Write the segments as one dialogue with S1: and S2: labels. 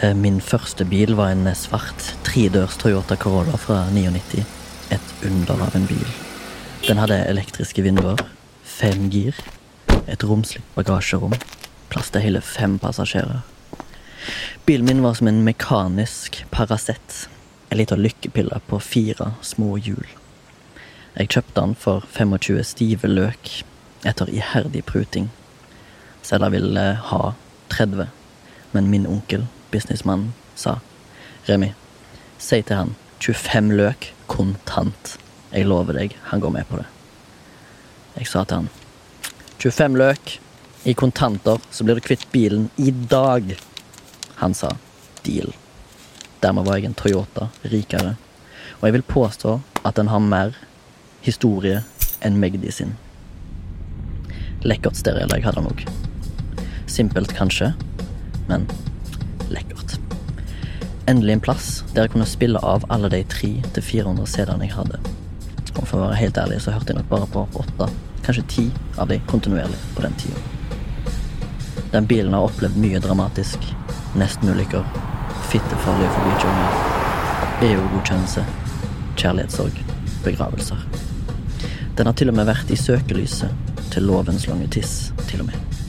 S1: Eh, Min første bil var en svart tredørs Toyota Corolla fra 99. Et under av en bil. Den hadde elektriske vinduer, fem gir, et romslig bagasjerom, plass til hele fem passasjerer. Bilen min var som en mekanisk Paracet, en liten lykkepille på fire små hjul. Jeg kjøpte den for 25 stive løk etter iherdig pruting. Selger ville eh, ha 30, men min onkel, businessmannen, sa Remi, si til han 25 løk kontant. Jeg lover deg, han går med på det. Jeg sa til han 25 løk i kontanter, så blir du kvitt bilen i dag. Han sa deal. Dermed var jeg en Toyota rikere. Og jeg vil påstå at den har mer historie enn Magdi sin. Lekkert stereoanlegg hadde han òg. Simpelt kanskje, men lekkert. Endelig en plass der jeg kunne spille av alle de 300-400 CD-ene jeg hadde. Og for å være helt ærlig så hørte jeg nok bare på åtte, kanskje ti av de kontinuerlig på den tida. Den bilen har opplevd mye dramatisk. Nestenulykker. Fittefarlige forbikjøringer. EU-godkjennelse. E Kjærlighetssorg. Begravelser. Den har til og med vært i søkelyset til lovens lange tiss, til og med.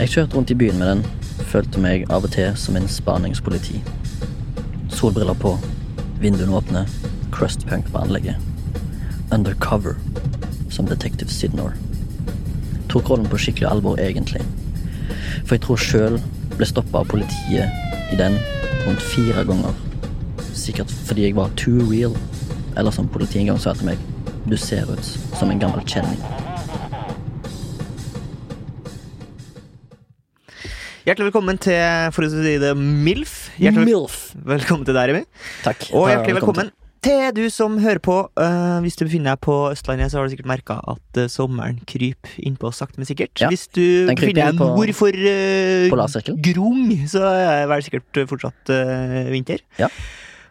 S1: Jeg kjørte rundt i byen med den. Følte meg av og til som en spaningspoliti. Solbriller på. Vinduene åpne. Crustpunk på anlegget. Undercover som Detective Sidnor. Tok rollen på skikkelig alvor, egentlig. For jeg tror sjøl ble stoppa av politiet i den rundt fire ganger. Sikkert fordi jeg var too real, eller som politiet en gang sa til meg, du ser ut som en gammel kjenning.
S2: Hjertelig velkommen til for å si det, MILF. Hjertelig vel-
S1: Milf.
S2: velkommen til deg, Remi.
S1: Takk.
S2: Og hjertelig velkommen til du som hører på. Eh, hvis du befinner deg på Østlandet, så har du sikkert merka at eh, sommeren kryper innpå sakte, men sikkert.
S1: Ja,
S2: hvis du
S1: den kryper
S2: befinner
S1: inn
S2: deg
S1: på-
S2: nord for eh,
S1: Polarsirkelen.
S2: Grung, så er det vel sikkert fortsatt eh, vinter.
S1: Ja.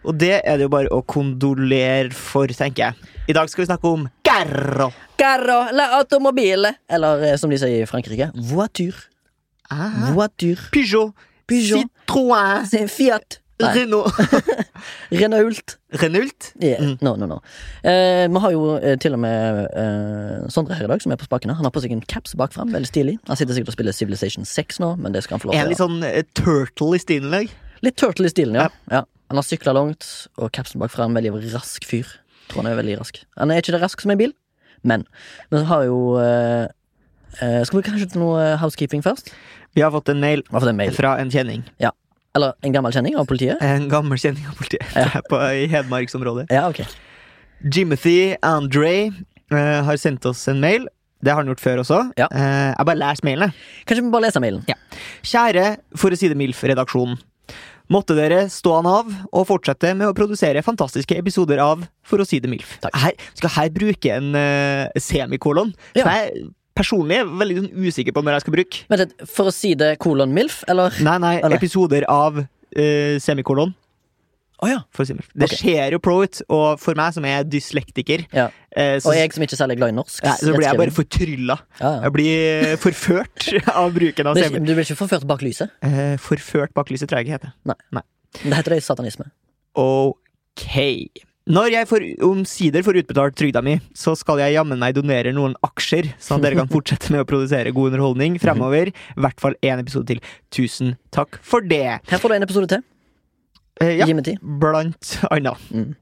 S2: Og det er det jo bare å kondolere for, tenker jeg. I dag skal vi snakke om Garro.
S1: Carro la automobile. Eller eh, som de sier i Frankrike, voiture.
S2: Ah.
S1: Voiture.
S2: Peugeot,
S1: Ah. Peugeot.
S2: Citroën,
S1: C'est Fiat. Nei,
S2: Renault
S1: Renault.
S2: Renault?
S1: Yeah.
S2: Mm.
S1: No, no, no. Eh, vi har jo eh, til og med eh, Sondre her i dag, som er på spakene. Han har på seg en caps bakfram. Veldig stilig. Han sitter sikkert og spiller Civilization 6 nå, men det skal han få lov
S2: Er han
S1: til.
S2: litt sånn eh, turtle i stilen i dag?
S1: ja. Litt turtle i stilen, ja. ja. Han har sykla langt, og capsen bakfram. Veldig rask fyr. Tror han er veldig rask. Han er ikke det rask som en bil, men vi har jo eh, eh, Skal vi kanskje til noe housekeeping først?
S2: Vi har fått en mail
S1: Hva for en mail?
S2: fra en kjenning.
S1: Eller en gammel kjenning av politiet?
S2: En gammel kjenning av politiet på, i Hedmarksområdet.
S1: Ja, ok.
S2: Jimothy Andre eh, har sendt oss en mail. Det har han gjort før også.
S1: Ja.
S2: Eh, jeg bare leser mailene.
S1: Kanskje vi bare leser mailen?
S2: Kjære For å si det MILF-redaksjonen. Måtte dere stå han av og fortsette med å produsere fantastiske episoder av For å si det MILF.
S1: Takk.
S2: Her, skal her bruke en eh, semikolon.
S1: Ja.
S2: Som jeg personlig er veldig sånn usikker på når jeg skal bruke.
S1: Vent litt, For å si det kolon MILF, eller?
S2: Nei, nei,
S1: Eller?
S2: episoder av eh, semikolon.
S1: Å ja.
S2: For å si det mildt. Det
S1: Ok.
S2: skjer jo pro ut, og for meg som er dyslektiker,
S1: Ja.
S2: eh, så,
S1: Og jeg som ikke er særlig glad i norsk.
S2: Nei, så blir jeg bare
S1: rettskriving.
S2: fortrylla.
S1: ja, ja.
S2: Jeg blir eh, forført av bruken av
S1: Du blir,
S2: semi.
S1: ikke, du blir ikke forført bak lyset?
S2: Eh, forført bak lyset, tror jeg ikke heter.
S1: Det heter det i satanisme.
S2: Ok. Når jeg får, omsider får utbetalt trygda mi, så skal jeg jammen meg donere noen aksjer, sånn at dere kan fortsette med å produsere god underholdning
S1: Mhm.
S2: fremover. I hvert fall én episode til. Tusen takk for det.
S1: Her får du en episode til.
S2: Eh, ja.
S1: Gi meg tid.
S2: Blant annet.
S1: Mm.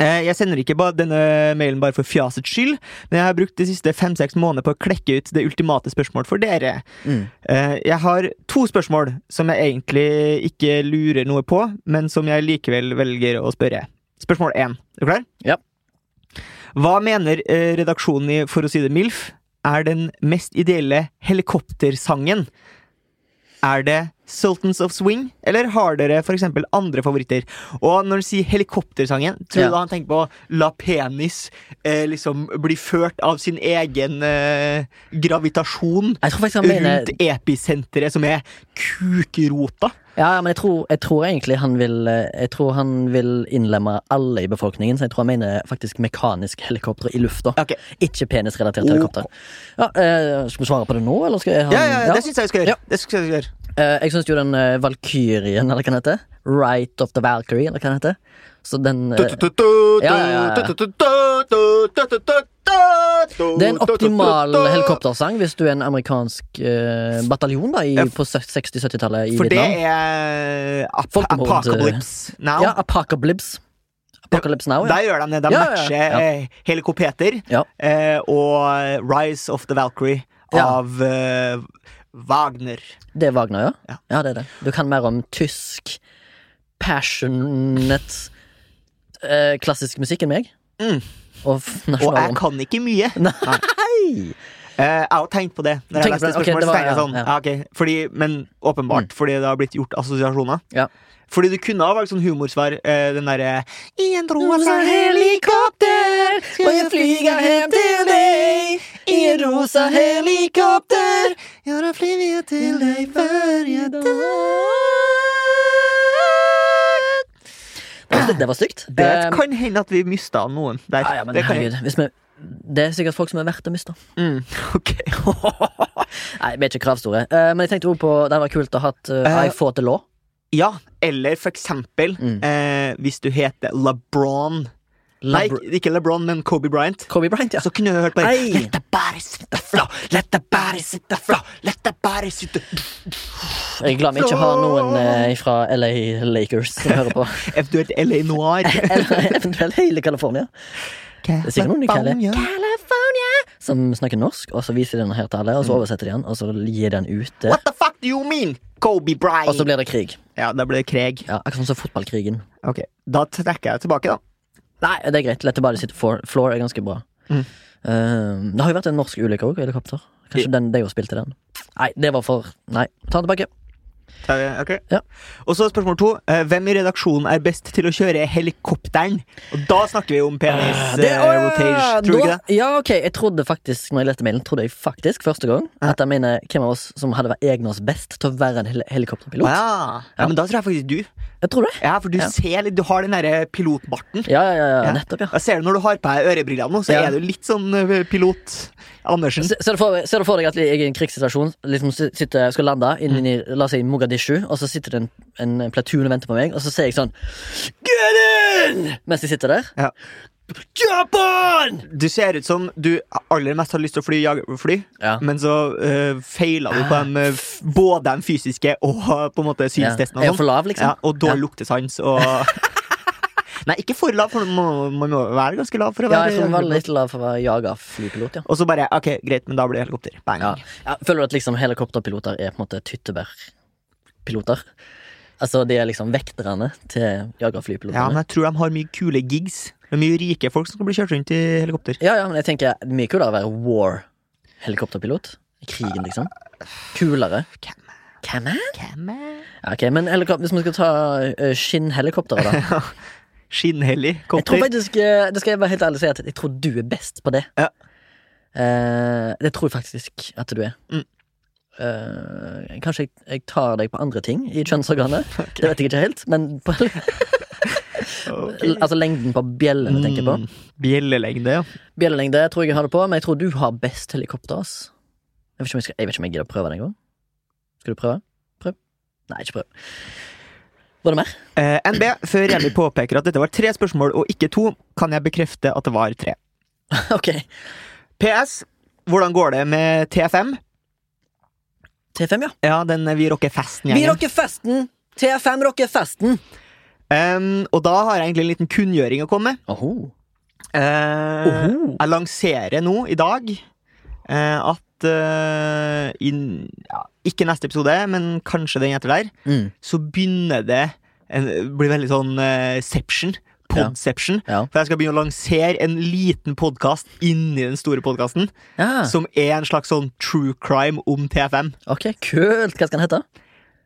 S2: Eh, Jeg sender ikke ba- denne mailen bare for fjasets skyld, men jeg har brukt de siste fem-seks månedene på å klekke ut det ultimate spørsmål for dere.
S1: Mm.
S2: Eh, Jeg har to spørsmål som jeg egentlig ikke lurer noe på, men som jeg likevel velger å spørre. Spørsmål én. Er du klar?
S1: Ja.
S2: Hva mener eh, redaksjonen i For å si det MILF er den mest ideelle helikoptersangen? Er det Sultans of Swing, eller har dere for eksempel andre favoritter? Og når han sier helikoptersangen, tror
S1: Ja.
S2: du da han tenker på La Penis eh, liksom bli ført av sin egen eh, gravitasjon
S1: Jeg tror faktisk han mener
S2: rundt episenteret, som er kukrota?
S1: Ja, ja, men jeg tror, jeg tror egentlig han vil eh, Jeg tror han vil innlemme alle i befolkningen, så jeg tror han mener faktisk mekanisk helikopter i lufta.
S2: Ok.
S1: Ikke penisrelatert
S2: Ok.
S1: helikopter. Ja, eh, skal vi svare på det nå, eller skal jeg ha
S2: Oh. Ja, ja, ja,
S1: ja.
S2: det syns jeg vi skal gjøre.
S1: Ja.
S2: Det synes jeg vi skal gjøre.
S1: Eh, jeg syns jo den uh, Valkyrien, eller hva den heter. Right of the Valkyrie, eller hva den heter. Så den eh, ja, ja, ja. Det er en optimal helikoptersang hvis du er en amerikansk eh, bataljon da, i,
S2: Ja.
S1: på 60-70-tallet i
S2: For det
S1: Vietnam.
S2: er ap
S1: Folkemord, eh,
S2: Apocalypse Now.
S1: Ja, Apocalypse. Apocalypse Now, ja.
S2: Der gjør de det. De
S1: Ja, ja,
S2: matcher
S1: ja.
S2: eh, Helikopeter
S1: Ja.
S2: eh, og Rise of the Valkyrie
S1: Ja.
S2: av eh, Wagner.
S1: Det er Wagner, ja?
S2: Ja.
S1: ja? det er det. Du kan mer om tysk, passionate eh, klassisk musikk enn meg.
S2: Mm.
S1: Og f-
S2: Og jeg
S1: nasjonalrom.
S2: kan ikke mye. Nei.
S1: Hei!
S2: Eh, jeg har tenkt på det når jeg
S1: Tenk på
S2: leste
S1: det, ok,
S2: spørsmålet.
S1: det
S2: så
S1: var-
S2: tenkte jeg sånn,
S1: ja, Mm.
S2: ja, ok, fordi, men åpenbart, fordi det har blitt gjort assosiasjoner.
S1: Ja.
S2: Fordi du kunne ha valgt sånn humorsvar. Eh, den derre I en rosa
S1: helikopter,
S2: og jeg flyger hjem til
S1: deg.
S2: I en rosa helikopter, ja, da flyr vi til deg før jeg dør.
S1: Det var stygt.
S2: Det
S1: Eh,
S2: kan hende at vi mista noen der.
S1: ja, ja, men
S2: det kan
S1: herregud. Hvis vi, det er sikkert folk som er verdt å miste.
S2: Mm, ok.
S1: Nei, vi er ikke kravstore. Eh, men jeg tenkte også på det hadde vært kult å ha hatt eh,
S2: Eh,
S1: I Fought the Law.
S2: Ja, eller for eksempel
S1: Mm.
S2: eh, hvis du heter LeBron. Nei,
S1: Labr-
S2: ikke LeBron, men Kobe Bryant.
S1: Kobe Bryant, ja.
S2: Så kunne du hørt bare
S1: Ei.
S2: Let the body sit the flow, let the body sit the flow, let the body sit the
S1: Jeg er glad vi ikke har noen eh, fra LA Lakers som hører på.
S2: Eventuelt LA Noir.
S1: Eller eventuelt hele California. Det er sikkert noen i Cali. California Som snakker norsk, og så viser de den her til alle, og så oversetter de den, og så gir de den ut. eh,
S2: What the fuck do you mean, Kobe
S1: Og så
S2: Bryant?
S1: blir det krig.
S2: Ja, da ble det Kreg.
S1: Ja, Akkurat sånn som fotballkrigen.
S2: Ok, Da trekker jeg tilbake, da.
S1: Nei, det er greit. Lette bare sitt for- floor er ganske bra.
S2: Mm.
S1: Eh, det har jo vært en norsk ulykke òg, helikopter. Kanskje den, de jo spilte den. Nei, det var for Nei, ta den tilbake.
S2: Ta det, ok.
S1: Ja.
S2: Og så spørsmål to. eh, Hvem i redaksjonen er best til å kjøre helikopteren? Og da snakker vi om penis
S1: Ah, Det- å,
S2: eh,
S1: ja,
S2: rotation. Tror du ikke
S1: da-
S2: det?
S1: Ja, ok, jeg trodde faktisk Når jeg leste mailen, trodde jeg faktisk første gang at jeg mener hvem av oss som hadde vært egnet oss best til å være en hel helikopterpilot.
S2: Å, Ja. ja, men da tror jeg faktisk du.
S1: Jeg tror det.
S2: Ja, for du
S1: Ja.
S2: ser litt, du har den derre pilotbarten.
S1: Ja, ja, ja,
S2: Ja.
S1: ja. nettopp, ja.
S2: Jeg ser det når du har på deg ørebrillene nå, så
S1: Ja.
S2: er du litt sånn eh, pilot Andersen.
S1: Se- Ser du, for, ser du for deg at jeg er i en krigssituasjon, liksom si- sitter, skal lande inn
S2: Mm.
S1: i la oss si, Mogadishu, og så sitter det en, en platoon og venter på meg, og så ser jeg sånn Get in! Mens jeg sitter der.
S2: Ja.
S1: Jump on!
S2: Du ser ut som du aller mest har lyst til å fly jagerfly,
S1: Ja.
S2: men så uh, feila du på dem, eh, f- både de fysiske og eh, på en måte
S1: Ja.
S2: synstesten.
S1: Er jeg
S2: Og,
S1: for
S2: sånn.
S1: lav, liksom?
S2: ja, og dårlig
S1: Ja.
S2: luktesans og Nei, ikke for lav, for man må, man må være ganske lav for å
S1: Ja,
S2: være
S1: jeg tror vi var
S2: jagerpilot.
S1: litt lav for å være jagerflypilot, ja.
S2: Og så bare OK, greit, men da blir det helikopter. Bang.
S1: Ja. Ja, føler du at liksom helikopterpiloter er på en måte tyttebærpiloter? Altså, de er liksom vekterne til
S2: Ja, men
S1: jagerflypilotene.
S2: jeg tror de har mye kule gigs. Det er mye rike folk som skal bli kjørt rundt i helikopter.
S1: Ja, ja, men jeg tenker mye kulere å være war-helikopterpilot. I krigen, liksom. Kulere.
S2: Hvem?
S1: Hvem er?
S2: Hvem er
S1: Ja, ok, men helikop- Hvis vi skal ta eh, skinnhelikoptere, da.
S2: Skinnhellig
S1: Jeg tror
S2: kopter.
S1: faktisk, eh, det skal jeg være helt ærlig si at jeg tror du er best på det.
S2: Ja.
S1: Eh, det tror jeg faktisk at du er.
S2: Mm.
S1: Eh, kanskje jeg, jeg tar deg på andre ting i kjønnsorganet. Det vet jeg ikke helt, men på,
S2: Ok.
S1: altså lengden på bjellene tenker jeg på.
S2: Mm, Bjellelengde, ja.
S1: Bjellelengde tror jeg jeg har det på, men jeg tror du har best helikopter. Ass. Jeg, vet ikke om jeg, skal, jeg vet ikke om jeg gidder å prøve det engang. Skal du prøve? Prøv. Nei, ikke prøv. Var det mer?
S2: Eh, NB, før Remi påpeker at dette var tre spørsmål og ikke to, kan jeg bekrefte at det var tre.
S1: ok.
S2: PS. Hvordan går det med TFM?
S1: T5, ja.
S2: Ja, den Vi rocker
S1: Vi
S2: festen-gjengen.
S1: rocker festen! T5 rocker festen!
S2: Em, og da har jeg egentlig en liten kunngjøring å komme med.
S1: Oho.
S2: Eh,
S1: Oho.
S2: jeg lanserer nå, i dag, eh, at eh, inn- ja, Ikke neste episode, men kanskje den etter der,
S1: Mm.
S2: så begynner det en, blir veldig sånn eh, seption. Podception.
S1: Ja.
S2: For jeg skal begynne å lansere en liten podkast inni den store podkasten.
S1: Ja,
S2: Som er en slags sånn true crime om TFM.
S1: ok, kult. Hva skal den hete?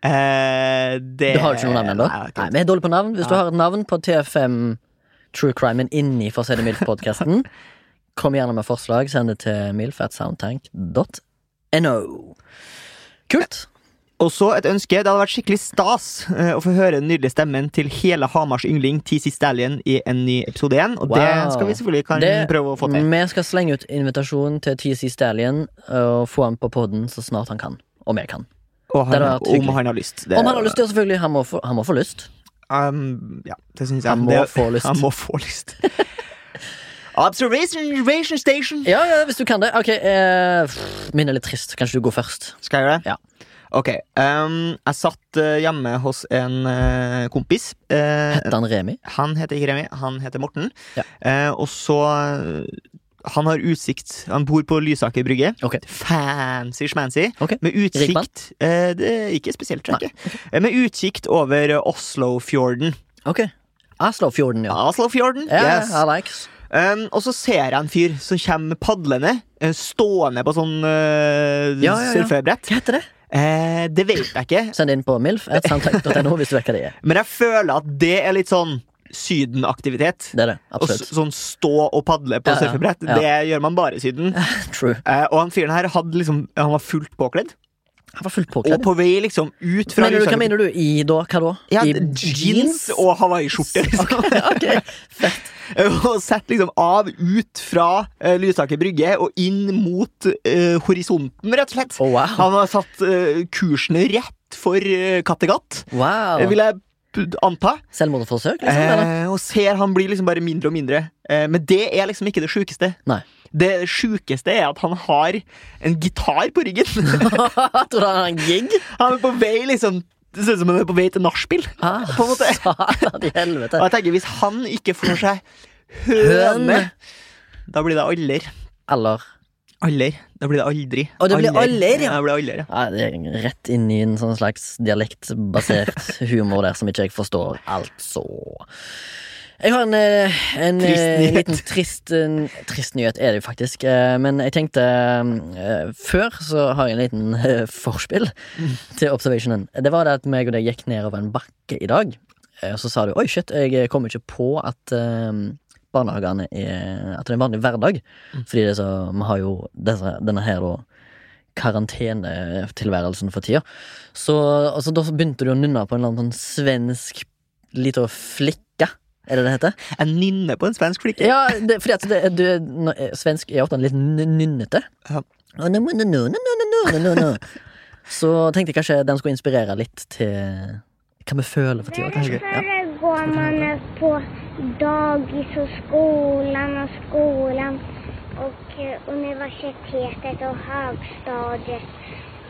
S2: Eh, det
S1: Du har jo ikke noe navn ennå? Nei,
S2: Eh, Nei, jeg har ikke.
S1: vi er dårlige på navn. Hvis du har et navn på TFM True Crime-en inni For å si det mildt-podkasten, kom gjerne med forslag. Send det til milfatsoundtank.no. Kult.
S2: Og så et ønske. Det hadde vært skikkelig stas eh, å få høre den nydelige stemmen til hele Hamars yngling T.C. Stallion i en ny episode igjen. Og det
S1: Wow.
S2: skal vi selvfølgelig kan
S1: Det- Mm.
S2: prøve å få til.
S1: Vi skal slenge ut invitasjon til TC Stallion og få han på podden så snart han kan. Om jeg kan.
S2: Og
S1: det
S2: han,
S1: hadde vært hyggelig.
S2: om han har lyst. Det-
S1: Om han har lyst til, selvfølgelig. Han må få, han må få lyst.
S2: Um, ja, det syns jeg.
S1: Han må
S2: det,
S1: få lyst.
S2: Han må få lyst. Observation observation Station.
S1: Ja, ja, hvis du kan det. Ok, eh, pff, Min er litt trist. Kanskje du går først.
S2: Skal jeg gjøre det?
S1: Ja.
S2: Ok. Um, jeg satt eh, hjemme hos en eh, kompis. Eh,
S1: Heter han Remi?
S2: han heter ikke Remi, han heter Morten.
S1: Ja.
S2: Eh, og så eh, Han har utsikt. Han bor på Lysaker brygge.
S1: Ok.
S2: Fancy schmancy.
S1: Ok.
S2: Med
S1: Rik mann?
S2: utsikt eh, det er Ikke spesielt, tror jeg. ikke. Eh, Med utsikt over eh, Oslofjorden.
S1: Ok. Aslofjorden, ja.
S2: Oslofjorden,
S1: Ja,
S2: yes.
S1: ja, I likes.
S2: Um, og så ser jeg en fyr som kommer padlende, eh, stående på sånn eh,
S1: Ja, ja, ja.
S2: surfebrett.
S1: Hva heter det?
S2: Eh, det vet jeg ikke,
S1: Send det inn på milf.soundtank.no hvis du vet hva det er.
S2: men jeg føler at det er litt sånn Syden-aktivitet.
S1: Det er det.
S2: Og s-
S1: Absolutt.
S2: sånn stå og padle på
S1: Ja, ja.
S2: surfebrett,
S1: Ja.
S2: det gjør man bare i Syden.
S1: True.
S2: Eh, og han fyren her hadde liksom, han var fullt påkledd,
S1: Han var fullt
S2: og
S1: påkledd.
S2: på vei liksom ut fra
S1: Mener du, hva
S2: Lysaker-
S1: mener du? I da? Hva da?
S2: Ja,
S1: I
S2: jeans og hawaiiskjorte. Liksom.
S1: Ok, ok. Fett.
S2: og sett liksom av ut fra eh, Lysaker brygge og inn mot eh, horisonten, rett og slett.
S1: Å, Oh, wow.
S2: Han har satt eh, kursen rett for eh, Kattegat, eh,
S1: wow.
S2: vil jeg p- anta.
S1: Selvmordsforsøk, liksom? Eller?
S2: Eh, og ser han blir liksom bare mindre og mindre. Eh, men det er liksom ikke det sjukeste.
S1: Nei.
S2: Det sjukeste er at han har en gitar på ryggen.
S1: Tror du han har en gig?
S2: han er på vei liksom Det ser ut som han er på vei til nachspiel.
S1: Ah,
S2: På en måte.
S1: Satan i helvete.
S2: Og jeg tenker, hvis han ikke får seg høne, da blir det alder.
S1: Eller
S2: Alder. Da blir det aldri.
S1: Å, det blir alder, ja.
S2: ja. Det blir alder, ja.
S1: ja, det er Rett inn i en sånn slags dialektbasert humor der som ikke jeg forstår, altså. Jeg har en, eh, en
S2: Trist
S1: eh,
S2: nyhet.
S1: liten trist, en, trist nyhet, er det jo faktisk. eh, Men jeg tenkte eh, Før så har jeg en liten eh, forspill til observationen. Det var det at meg og deg gikk nedover en bakke i dag. eh, Og så sa du 'oi, shit, jeg kom ikke på at eh, barnehagene er At det er en vanlig hverdag'.
S2: Mm.
S1: Fordi det er så, vi har jo disse, denne her da karantenetilværelsen for tida. Så altså, da begynte du å nynne på en eller annen sånn svensk lita flikke. Er det det heter?
S2: Jeg nynner på en svensk flikke.
S1: Ja, det, fordi at det, du, nå, eh, svensk er ofte litt nyn- nynnete.
S2: Ja.
S1: Og nå må- nå, nå, nå, nå, nå, nå, nå, nå. Så tenkte jeg kanskje den skulle inspirere litt til hva vi føler for tida, kanskje. Ja.
S3: Därför går man på dagis och skolan och skolan och eh, universitetet och högstadiet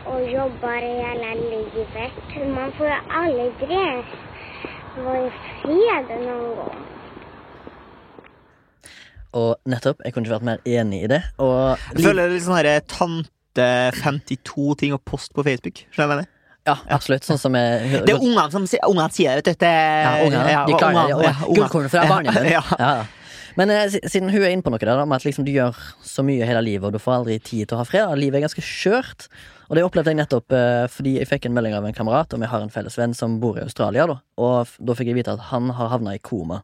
S3: och jobbar hela livet. Man får ju aldrig ens vara i fred någon gång.
S1: Og nettopp. Jeg kunne ikke vært mer enig i det. Og
S2: Jeg føler det er litt sånn her tante 52 ting å poste på Facebook. Skjønner du hva jeg mener?
S1: Ja, absolutt. Sånn som jeg
S2: Det er ungene som sier, ungene sier det, vet du. Det,
S1: Ja, ungene.
S2: ja,
S1: Eh, de klarer det.
S2: ungene, ja,
S1: Ja,
S2: ungene.
S1: Gullkornet fra barnehjemmet.
S2: Ja,
S1: Ja.
S2: ja.
S1: ja. Men eh, si- siden hun er inne på noe der, da, med at liksom du gjør så mye hele livet, og du får aldri tid til å ha fred, og livet er ganske skjørt. Og det opplevde jeg nettopp eh, fordi jeg fikk en melding av en kamerat, og vi har en felles venn som bor i Australia, da. Og f- da fikk jeg vite at han har havna i koma.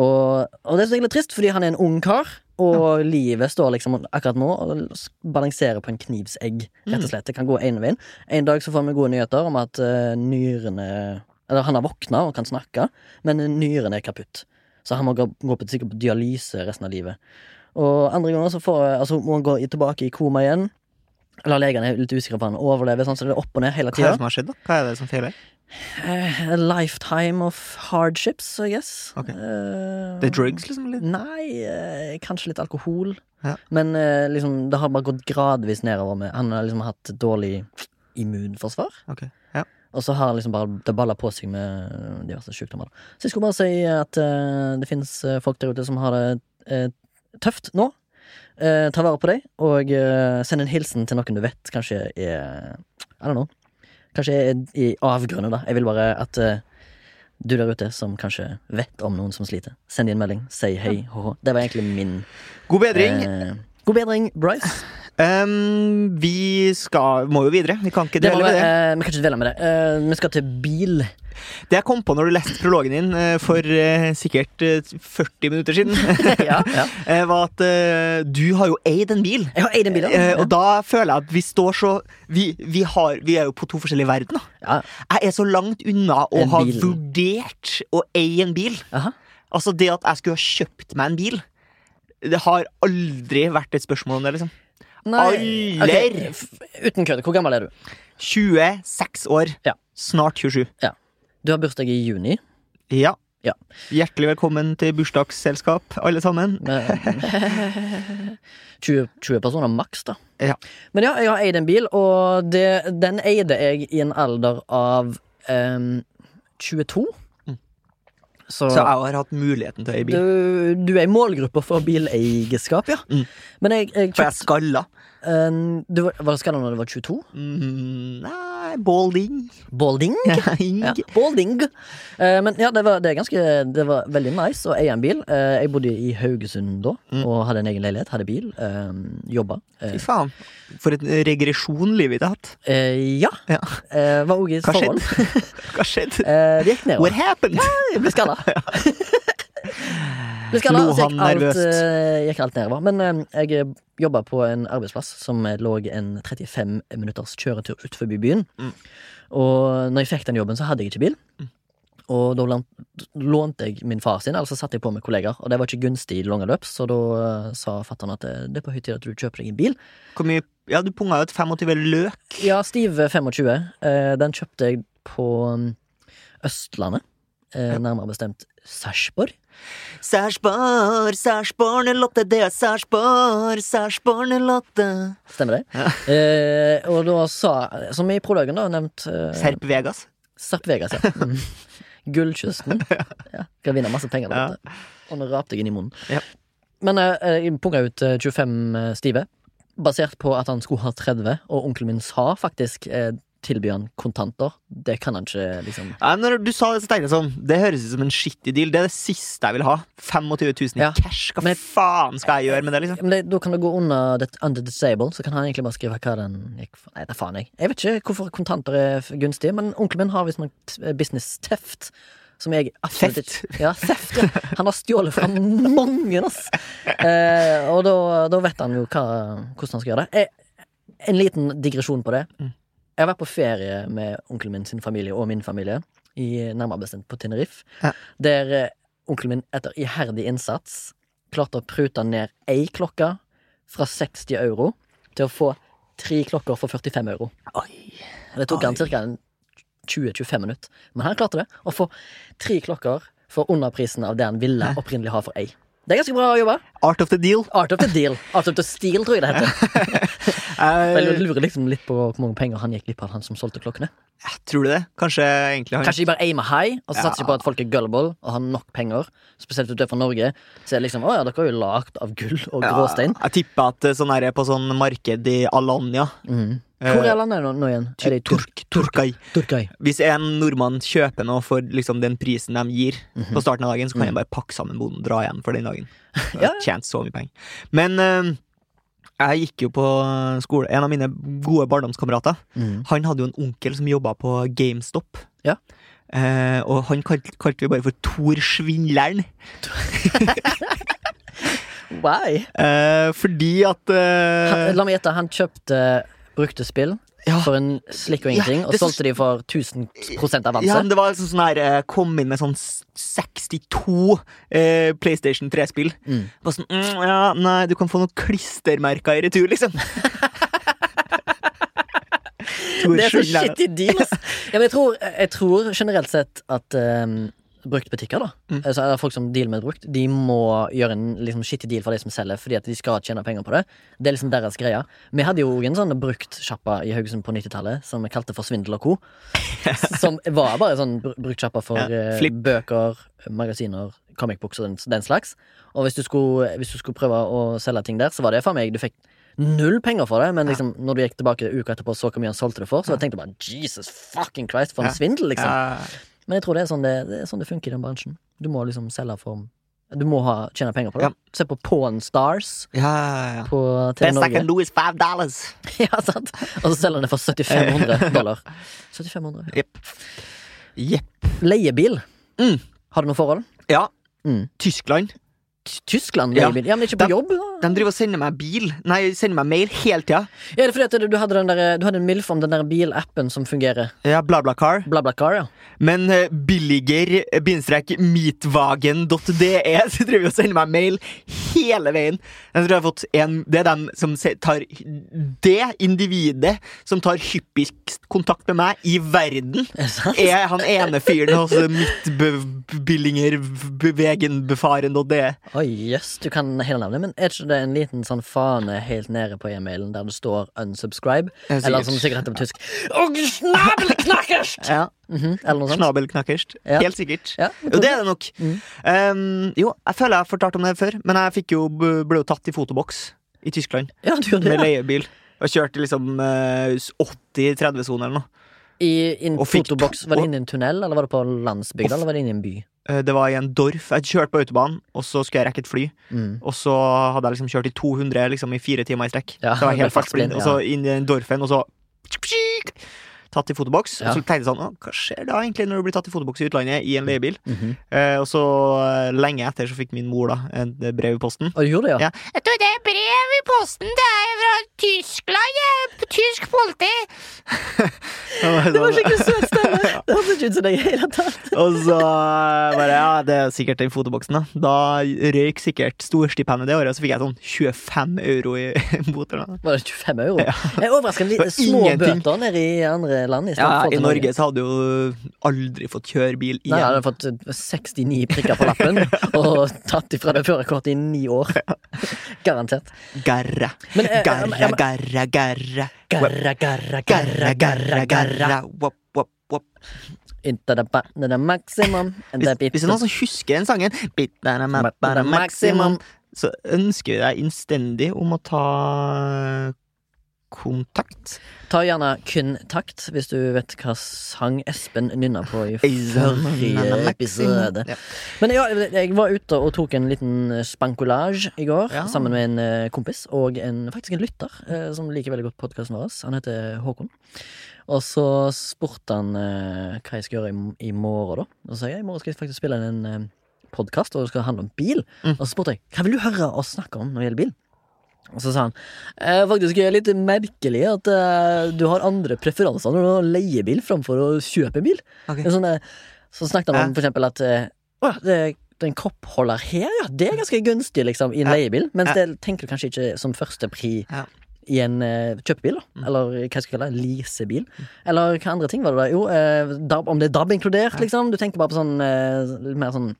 S1: Og, og det er så egentlig trist, fordi han er en ung kar, og livet står liksom akkurat nå og s- balanserer på en knivsegg, rett og slett. Det kan gå ene veien. En dag så får vi gode nyheter om at eh, nyrene Eller han har våkna og kan snakke, men nyrene er kaputt. Så han må gå, gå på, sikkert på dialyse resten av livet. Og andre ganger så får, altså, må han gå i- tilbake i koma igjen. Eller legene er litt usikre på om han overlever, sånn, så det er opp og ned hele
S2: Hva er
S1: tida.
S2: det som har skjedd, da? Hva er det som feiler?
S1: A lifetime of hardships, I guess.
S2: Ok.
S1: Eh,
S2: Det er drugs, liksom? Eller?
S1: Nei, eh, kanskje litt alkohol.
S2: Ja.
S1: Men eh, liksom, det har bare gått gradvis nedover. Med. Han har liksom hatt dårlig immunforsvar.
S2: Ok, ja.
S1: Og så har han liksom bare det balla på seg med eh, diverse sykdommer. Da. Så jeg skulle bare si at eh, det finnes eh, folk der ute som har det eh, tøft nå. Eh, ta vare på deg, og eh, send en hilsen til noen du vet kanskje er I don't know. Kanskje er i avgrunnen, da. Jeg vil bare at eh, du der ute som kanskje vet om noen som sliter, send inn melding. Si hei, hå. hå. Det var egentlig min
S2: God bedring.
S1: eh, god bedring, Bryce.
S2: Ehm, vi skal, må jo videre. Vi kan ikke
S1: Det må
S2: dvele
S1: vi,
S2: ved det.
S1: eh, vi kan ikke dvele med det. Eh, vi skal til bil.
S2: Det jeg kom på når du leste prologen din eh, for eh, sikkert eh, 40 minutter siden,
S1: ja, ja.
S2: eh, var at eh, du har jo eid en bil.
S1: Jeg har eid en bil.
S2: Eh,
S1: Ja.
S2: og da føler jeg at vi står så Vi, vi, har, vi er jo på to forskjellige verdener.
S1: Ja.
S2: Jeg er så langt unna å
S1: En
S2: ha
S1: bil.
S2: vurdert å eie en bil.
S1: Aha.
S2: Altså Det at jeg skulle ha kjøpt meg en bil, det har aldri vært et spørsmål om det. liksom
S1: Nei.
S2: Aller!
S1: Ok, f- Uten kødd, hvor gammel er du?
S2: 26 år.
S1: Ja.
S2: Snart 27.
S1: Du har bursdag i juni.
S2: Ja.
S1: Ja.
S2: Hjertelig velkommen til bursdagsselskap, alle sammen.
S1: Eh, 20, 20 personer maks, da.
S2: Ja.
S1: Men ja, jeg har eid en bil, og det, den eide jeg i en alder av em, 22. Så,
S2: Mm. Så jeg har hatt muligheten til å eie bil.
S1: du, du er i målgruppa for bileierskap, ja.
S2: Mm.
S1: Men jeg, jeg
S2: For jeg
S1: kjøpt,
S2: skalla.
S1: em, du, var- Var det skalla når du var 22?
S2: Mm, nei, balding.
S1: Balding? Ja, Balding. Eh, men ja, det var, det, er ganske, det var veldig nice å eie en bil. Eh, jeg bodde i Haugesund da, og hadde en egen leilighet, hadde bil, uh, jobba. Eh,
S2: Mm. Fy faen. For en regresjon livet ditt har hatt.
S1: eh, ja.
S2: Ja.
S1: Eh, var òg i et
S2: Hva
S1: forhold.
S2: skjedde? Hva skjedde?
S1: Eh, det gikk
S2: What
S1: nedover.
S2: happened?
S1: Jeg ble skalla. Ble skalla,
S2: Lo
S1: så gikk
S2: han
S1: alt,
S2: nervøst?
S1: eh, gikk alt nedover. Men eh, jeg jobba på en arbeidsplass som lå en 35 minutters kjøretur utenfor byen.
S2: Mm.
S1: Og når jeg fikk den jobben, så hadde jeg ikke bil. Og da lån- lånte jeg min far sin, altså satte jeg på med kollegaer. Og det var ikke gunstig i det lange løp, så da eh, sa fatter'n at eh, det er på høy tid at du kjøper deg en bil.
S2: Hvor mye Ja, du punga jo et 25 løk.
S1: Ja, Stive 25. Eh, den kjøpte jeg på mm, Østlandet. Eh, nærmere bestemt Sarpsborg.
S2: Sarpsborg, Sarpsborg, Lotte, det er Sarpsborg, Sarpsborg, Lotte.
S1: Stemmer det? Eh, og da sa, som i prologen, da, nevnt eh,
S2: Serp Vegas.
S1: Serp Vegas, ja. Mm. Gullkysten. Ja, skal vinne masse penger.
S2: Ja.
S1: da, vet du. Og nå rapte jeg inn i munnen.
S2: Ja.
S1: Men eh, jeg punga ut eh, 25 stive, basert på at han skulle ha 30, og onkelen min sa faktisk eh, tilby han kontanter. Det kan han ikke, liksom.
S2: Ja, når du sa det, så tenkte jeg sånn Det høres ut som en skittig deal. Det er det siste jeg vil ha. 25 000 i
S1: Ja.
S2: cash. Hva
S1: Men-
S2: faen skal jeg gjøre med det, liksom?
S1: Ja, Men det, da kan det gå under det- under disable, så kan han egentlig bare skrive hva den gikk for. Nei, det er faen jeg. Jeg vet ikke hvorfor kontanter er f- gunstig, men onkelen min har visst noe t- business theft. Som jeg absolutt
S2: Theft?
S1: ikke Ja, theft. Ja. Han har stjålet fra mange, ass. Eh, og da, da vet han jo hva, hvordan han skal gjøre det. Eh, en liten digresjon på det.
S2: Mm.
S1: Jeg har vært på ferie med onkelen min sin familie og min familie, i, nærmere bestemt på Tenerife,
S2: Ja.
S1: der eh, onkelen min etter iherdig innsats klarte å prute ned ei klokke fra 60 euro til å få tre klokker for 45 euro. Og Det tok han
S2: Oi.
S1: ca. 20-25 minutter. Men han klarte det. Å få tre klokker for underprisen av det han ville opprinnelig ha for ei. Det er ganske bra jobba.
S2: Art of the deal.
S1: Art of the deal. Art of the steal, tror jeg det heter. For Jeg
S2: Eh,
S1: lurer liksom litt på hvor mange penger han gikk glipp av, han som solgte klokkene.
S2: tror du det? Kanskje egentlig han
S1: Kanskje de bare aimer high, og så satser de på at folk er gullible og har nok penger. Spesielt ut fra Norge. Så er det liksom, å ja, dere er jo lagd av gull og
S2: Ja,
S1: gråstein.
S2: Jeg tipper at eh, sånn er det på sånn marked i Alanya.
S1: Mhm.
S2: Eh,
S1: Hvor er landet nå, nå igjen? Er det i Tur
S2: Turk, Turkai.
S1: Turkai?
S2: Hvis en nordmann kjøper noe for liksom, den prisen de gir
S1: Mhm.
S2: på starten av dagen, så kan han bare pakke sammen boden og dra igjen for den dagen. Jeg har Tjent så mye penger. Men eh, jeg gikk jo på skole En av mine gode barndomskamerater
S1: Mhm.
S2: Han hadde jo en onkel som jobba på GameStop.
S1: Ja.
S2: Eh, og han kalte, kalte vi bare for Tor Svindleren.
S1: Why?
S2: Eh, fordi at eh,
S1: Han, la meg gjette, han kjøpte brukte spill
S2: Ja.
S1: for en slikk og ingenting,
S2: Ja,
S1: og
S2: det er så-
S1: solgte de for 1000 avanse.
S2: Ja, men det var liksom sånn her eh, Kom inn med sånn s- 62 eh, PlayStation 3-spill.
S1: Mm.
S2: Bare sånn mm, Ja, nei, du kan få noen klistermerker i retur, liksom. Tor
S1: Det er så
S2: Svindleren.
S1: shitty deal, ass. Ja, men jeg tror, jeg tror generelt sett at um, bruktbutikker, da,
S2: Mm.
S1: altså eller folk som dealer med brukt, de må gjøre en liksom, shitty deal for de som selger, fordi at de skal tjene penger på det. Det er liksom deres greie. Vi hadde jo en sånn bruktsjappa i Haugesund på 90-tallet som vi kalte for Svindel og co. som var bare sånn br- bruktsjappa for
S2: Ja,
S1: eh,
S2: flipp.
S1: bøker, magasiner, comicbooks og den, den slags. Og hvis du, skulle, hvis du skulle prøve å selge ting der, så var det faen meg Du fikk null penger for det, men liksom, når du gikk tilbake uka etterpå og så hvor mye han solgte det for, så tenkte jeg bare Jesus fucking Christ, for en
S2: Ja.
S1: svindel, liksom.
S2: Ja.
S1: Men jeg tror det er sånn det, det, er sånn det funker i den bransjen. Du må liksom selge for Du må ha, tjene penger på det.
S2: Ja.
S1: Se på Pawn Stars
S2: Ja, ja, ja.
S1: på TV
S2: Best I
S1: Norge.
S2: can do is five dollars.
S1: ja, sant? Og så selger han det for 7500 dollar. 7500.
S2: Jepp. Jepp.
S1: Leiebil.
S2: Mm.
S1: Har du noe forhold?
S2: Ja.
S1: Mm.
S2: Tyskland.
S1: T- Tyskland
S2: Ja.
S1: leiebil? Ja, men ikke på
S2: De-
S1: jobb? da?
S2: De driver og sender meg bil Nei, sender meg mail hele tida.
S1: Ja, det er fordi at du- du hadde, den der, du hadde en MILF om den der bilappen som fungerer.
S2: Ja, BlaBlaCar.
S1: BlaBlaCar, ja.
S2: Men eh, billiger eh, bindestrek meatwagen.de E så driver de og sender meg mail hele veien. Jeg tror jeg har fått en, Det er dem som se- tar Det individet som tar hyppigst kontakt med meg i verden,
S1: Er det sant?
S2: er han ene fyren hos eh, mittbillingervegenbefaren.de.
S1: Oi, jøss, du kan hele navnet, men er ikke det en liten sånn fane helt nede på e-mailen der det står 'unsubscribe'?
S2: Ja, sikkert.
S1: Eller som sikkert heter på tysk «Og snabelknakkerst!»
S2: Ja.
S1: Mhm, Eller noe sånt.
S2: Snabelknakkerst.
S1: Ja.
S2: Helt sikkert.
S1: Ja,
S2: Jo, det er det nok.
S1: Mm.
S2: Um, jo, jeg føler jeg har fortalt om det før, men jeg fikk jo, ble jo tatt i fotoboks i Tyskland.
S1: ja, du gjorde
S2: med
S1: det. ja.
S2: leiebil. Og kjørte liksom eh, 80-30-sone eller noe.
S1: I en
S2: Og fikk-
S1: fotoboks. Var det inne i en tunnel, eller var det på landsbygda,
S2: Og-
S1: eller var det inne i en by?
S2: Eh, Det var i en Dorf. Jeg kjørte på autobanen, og så skulle jeg rekke et fly.
S1: Mm.
S2: Og så hadde jeg liksom kjørt i 200 liksom, i fire timer i strekk.
S1: Ja,
S2: det var
S1: det ble
S2: helt
S1: fartsblind,
S2: fartsblind. Og så inn i den Dorfen, og så Tatt i fotoboks.
S1: Ja.
S2: Og så tenkte jeg sånn «Å, Hva skjer da egentlig når du blir tatt i fotoboks i utlandet i en leiebil?
S1: Mhm.
S2: Eh, og så eh, lenge etter så fikk min mor da et brev i posten.
S1: Og du gjorde det, ja?
S2: Ja.
S4: Du, det er brev i posten. Det er fra Tyskland. det er p- Tysk politi.
S1: Det var skikkelig søt stemme! Det hørtes ikke ut som deg i det hele tatt.
S2: Og så eh, bare, ja, det er sikkert den fotoboksen da Da røyk sikkert storstipendet det året Og så fikk jeg sånn 25 euro i boter da
S1: Var det 25 euro? Jeg er overraskende
S2: Det var
S1: lite små
S2: ingenting.
S1: bøter nede i andre land. I, stedet
S2: ja,
S1: for
S2: I
S1: til
S2: Norge så hadde du jo aldri fått kjøre bil igjen
S1: Nei, jeg hadde fått eh, 69 prikker på lappen og tatt ifra det førerkortet i ni år. Garantert.
S2: Garre,
S1: Men, eh,
S2: garre,
S1: jeg- jeg-
S2: garre, garre
S1: Garra, garra, garra, garra,
S2: Garre,
S1: garra.
S2: garre, garre Wop, wop, wop
S1: Into the ba- into the maximum. and
S2: Hvis,
S1: the bit-
S2: hvis det er noen som husker den sangen bit, da, da, ma, ba, da, Maximum Så ønsker vi deg innstendig om å ta kontakt
S1: Ta gjerne kun takt, hvis du vet hva sang Espen nynna på i forrige episode.
S2: Ja.
S1: Men ja, jeg var ute og tok en liten eh, spankolage i går
S2: Ja.
S1: sammen med en eh, kompis og en, faktisk en lytter eh, som liker veldig godt podkasten vår. Han heter Håkon. Og så spurte han eh, hva jeg skal gjøre i, m- i morgen, da. Og så sa jeg i morgen skal jeg faktisk spille inn en podkast, og det skal handle om bil.
S2: Mm.
S1: Og så spurte jeg hva vil du høre oss snakke om når det gjelder bil. Og så sa han eh, faktisk er det litt merkelig at eh, du har andre preferanser når du leier bil framfor å kjøpe bil.
S2: Ok.
S1: En sånn, eh, så snakket han om
S2: Ja.
S1: for eksempel at eh, Å ja, det, det er en koppholder her, ja. Det er ganske gunstig, liksom, i en
S2: Ja.
S1: leiebil. Mens
S2: Ja.
S1: det tenker du kanskje ikke som første pri
S2: Ja.
S1: i en eh, kjøpebil, da.
S2: Mm.
S1: Eller hva skal jeg kalle det? Leasebil. Eller hva andre ting var det da? Jo, eh, DAB, om det er DAB inkludert, liksom. Du tenker bare på sånn eh, litt mer sånn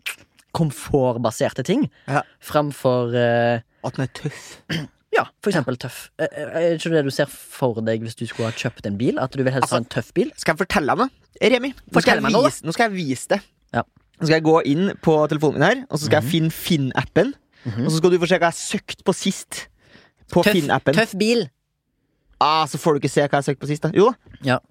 S1: komfortbaserte ting.
S2: Ja.
S1: Framfor eh,
S2: At den er tøff
S1: ja, for eksempel tøff. Eh, eh, Er ikke det du ser for deg hvis du skulle ha kjøpt en bil? At du vil helst ha
S2: Altså,
S1: en tøff bil?
S2: Skal jeg fortelle deg noe? Remi, nå skal,
S1: Fortell
S2: jeg
S1: meg noe, da.
S2: vise, nå skal jeg vise det.
S1: Ja.
S2: Nå skal jeg gå inn på telefonen min her, og så skal jeg finne Finn-appen.
S1: Mhm.
S2: Og så skal du få se hva jeg søkte på sist. På Finn-appen.
S1: tøff bil!
S2: Ah, så får du ikke se hva jeg søkte på sist. da Jo da,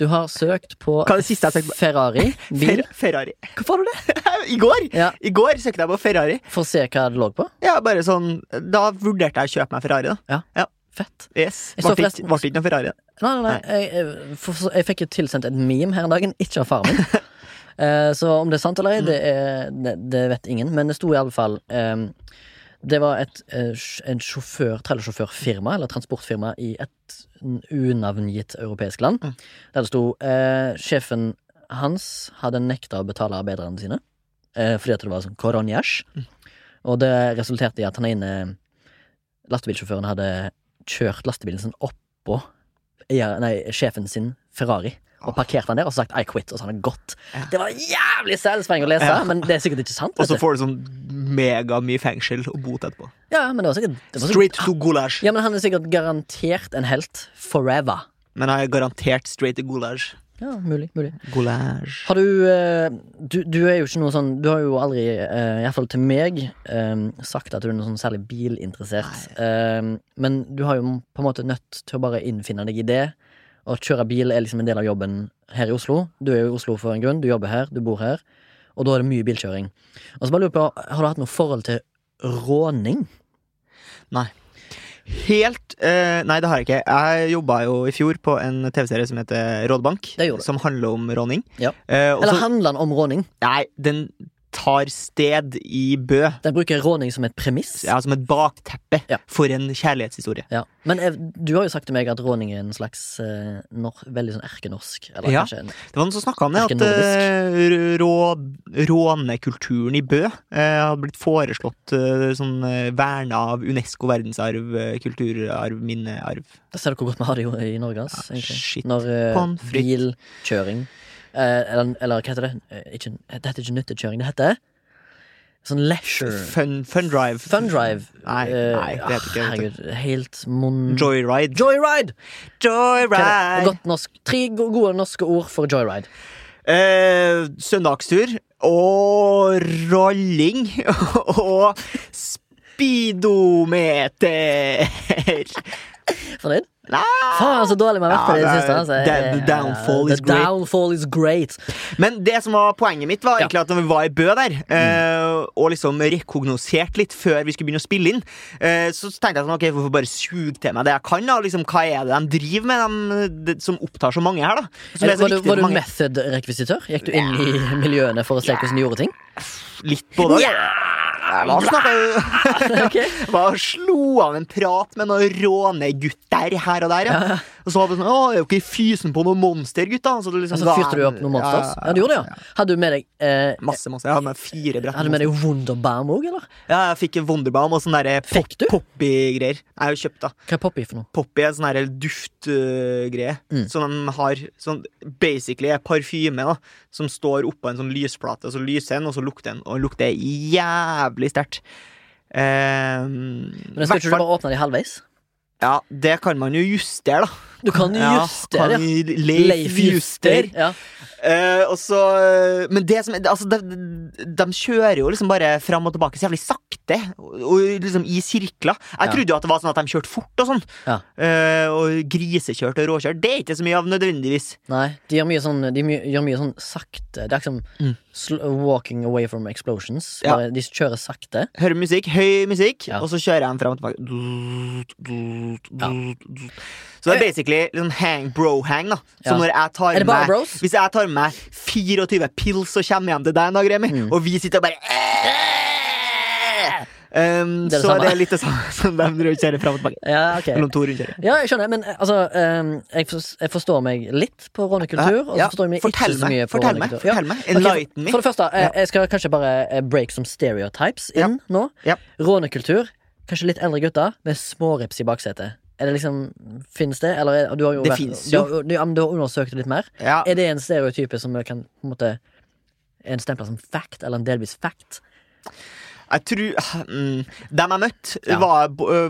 S1: Du har søkt på
S2: Hva er det siste jeg søkte på?
S1: Ferrari. Bil.
S2: Fer Ferrari.
S1: Hvorfor har du det?
S2: I går
S1: Ja.
S2: I går søkte jeg på Ferrari.
S1: For å se hva det lå på?
S2: Ja, bare sånn Da vurderte jeg å kjøpe meg Ferrari, da.
S1: Fett.
S2: Yes.
S1: Jeg så
S2: Ble det
S1: forresten-
S2: ikke- ble det ikke noe Ferrari. da.
S1: Nei, nei, nei. Jeg, jeg, for, så- jeg fikk jo tilsendt et meme her en dagen, ikke av faren min. Eh, Så om det er sant
S2: Mm.
S1: eller ei, det, er- det, det vet ingen. Men det sto iallfall um, Det var et eh, sj- en sjåfør, trailersjåførfirma, eller transportfirma, i et n- unavngitt europeisk land,
S2: Mm.
S1: der det sto eh, sjefen hans hadde nekta å betale arbeiderne sine eh, fordi at det var sånn koronjasj.
S2: Mm.
S1: Og det resulterte i at han ene lastebilsjåføren hadde kjørt lastebilen sin oppå eier- nei, sjefen sin Ferrari. Og
S2: Åh.
S1: parkerte han der og så sagt 'I quit', og så hadde han gått.
S2: Ja.
S1: Det var jævlig selvspreng å lese,
S2: Ja.
S1: men det er sikkert ikke sant.
S2: Og så
S1: Vet du.
S2: får du sånn megamye fengsel og bot etterpå.
S1: Ja, men det var sikkert, det var sikkert
S2: Straight to gulasj.
S1: ja, men han er sikkert garantert en helt forever.
S2: Men jeg er garantert straight to gulasj.
S1: Ja, mulig, mulig.
S2: Gulasj.
S1: Har du, eh, du Du er jo ikke noe sånn Du har jo aldri, eh, i hvert fall til meg, eh, sagt at du er noe sånn særlig bilinteressert. Eh, Men du har jo på en måte nødt til å bare innfinne deg i det. Å kjøre bil er liksom en del av jobben her i Oslo. Du er jo i Oslo for en grunn. Du jobber her, du bor her. Og da er det mye bilkjøring. Og så bare lurer jeg på, Har du hatt noe forhold til råning?
S2: Helt eh, Nei, det har jeg ikke. Jeg jobba jo i fjor på en TV-serie som heter Rådbank.
S1: Det gjorde du.
S2: Som handler om råning.
S1: Ja.
S2: Eh, og
S1: Eller
S2: så-
S1: handler den om råning?
S2: Nei, den tar sted i Bø.
S1: Den bruker råning som et premiss.
S2: Ja, som et bakteppe
S1: Ja.
S2: for en kjærlighetshistorie.
S1: Ja. Men eh, du har jo sagt til meg at råning er en slags eh, nor veldig sånn erkenorsk. Eller
S2: Ja.
S1: kanskje en
S2: Det var noen som snakka om det,
S1: Ikke
S2: at eh, rå- rånekulturen i Bø eh, hadde blitt foreslått eh, sånn eh, verna av Unesco verdensarv, eh, kulturarv, minnearv.
S1: Da ser du hvor godt vi har det jo i Norge. Ass,
S2: Ja,
S1: egentlig.
S2: Ah, shit.
S1: Når eh,
S2: Pommes frites.
S1: bilkjøring eh, eller, eller hva heter det? Eh, Ikke, det heter ikke nyttekjøring, det heter sånn leisure
S2: Fun, fun drive.
S1: Fun drive.
S2: Nei,
S1: Eh,
S2: nei, det heter ikke det.
S1: Herregud, helt mon...
S2: Joyride.
S1: Joyride! Hva er det?
S2: Joyride!
S1: Godt norsk. Tre go- gode norske ord for joyride.
S2: Eh, søndagstur og rolling og speedometer.
S1: Fornøyd?
S2: Nei.
S1: Faen, så dårlig vi har vært på det i
S2: Ja,
S1: det
S2: det-
S1: siste. Altså.
S2: the- the
S1: Eh,
S2: downfall is
S1: the
S2: great.
S1: downfall is great.
S2: Men det som var poenget mitt, var
S1: Ja. Mm.
S2: egentlig at når vi var i Bø der, eh, og liksom rekognosert litt før vi skulle begynne å spille inn, eh, så tenkte jeg sånn, ok, hvorfor bare suge til meg det jeg kan, da? og Liksom, hva er det de driver med, dem, det- som opptar så mange her, da? Som er så
S1: Var du,
S2: viktig
S1: var
S2: for
S1: du
S2: mange.
S1: method-rekvisitør? Gikk du inn i miljøene for å se hvordan de gjorde ting?
S2: Litt på det. Lars snakka jo
S1: Ok.
S2: Bare slo av en prat med noen rånegutter her og der. Ja. Og så hadde jeg sånn, å, er jo ikke fysen på noen monster, gutta. Så det
S1: Og
S2: liksom
S1: så
S2: ga
S1: Altså, fyrte du
S2: en-
S1: opp noen monsters? Ja, du gjorde det, ja. Hadde du med deg, eh,
S2: Masse monster. Jeg hadde med fire brett.
S1: hadde du med deg Wunderbaum òg, eller?
S2: Ja, jeg fikk en Wonderbaum og sånn derre pop
S1: Fikk du?
S2: poppy-greier. Jeg har jo kjøpt, da.
S1: Hva er Poppy for noe?
S2: Poppy er en sånn her duftgreie
S1: Mm.
S2: som de har sånn, Basically er parfyme da som står oppå en sånn lysplate, og så lyser den, og så lukter den, og den lukter jævlig sterkt. Eh,
S1: Men jeg skal ikke
S2: hvert
S1: du
S2: fall-
S1: bare åpne de halvveis?
S2: Ja, det kan man jo justere, da.
S1: Du kan jo
S2: Ja,
S1: justere.
S2: kan
S1: ja.
S2: vi- Leif, Juster.
S1: Ja.
S2: Eh, og så, eh, men det som er- altså, de, de kjører jo liksom bare fram og tilbake så jævlig sakte, og, og liksom i sirkler. Jeg
S1: Ja.
S2: trodde jo at det var sånn at de kjørte fort og sånn.
S1: Ja.
S2: Eh, og grisekjørt og råkjørt. Det er ikke så mye av nødvendigvis.
S1: Nei, de gjør mye sånn, de my- gjør mye sånn sakte. Det er liksom
S2: Mm.
S1: sl- walking away from explosions.
S2: Ja.
S1: Bare, De kjører sakte.
S2: Hører musikk, høy musikk,
S1: Ja.
S2: og så kjører de fram og tilbake. Dut, dut,
S1: Ja.
S2: dut, dut. Så det er basically liksom hang bro-hang, da. Så
S1: Ja.
S2: når jeg tar
S1: Er det bare
S2: med
S1: bros?
S2: Hvis jeg tar med meg 24 pils og kommer hjem til deg, en dag, Remi,
S1: Mm.
S2: og vi sitter og bare um,
S1: Det er det
S2: Så
S1: samme.
S2: det er litt det samme som de driver og kjører fram og tilbake.
S1: Ja, ok.
S2: Mellom to rundkjøringer.
S1: Ja, jeg skjønner, men eh, altså eh, jeg, fors- jeg forstår meg litt på rånekultur. Og
S2: Ja,
S1: så forstår jeg meg ikke
S2: fortell
S1: så
S2: meg,
S1: mye på
S2: fortell meg,
S1: rånekultur.
S2: fortell meg.
S1: Ok,
S2: Enlighten me.
S1: for, for det første, eh,
S2: Ja.
S1: jeg skal kanskje bare eh, break some stereotypes inn nå.
S2: Ja.
S1: Rånekultur. Kanskje litt eldre gutter med smårips i baksetet. Er det liksom, Fins det? Eller er- du har jo
S2: Det
S1: vært-
S2: finnes
S1: du har- Du, ja, men du har undersøkt det litt mer.
S2: Ja.
S1: Er det en stereotype som vi kan på en måte En stempla som fact, eller en delvis fact?
S2: Jeg tror mm, Dem jeg møtte,
S1: Ja.
S2: var,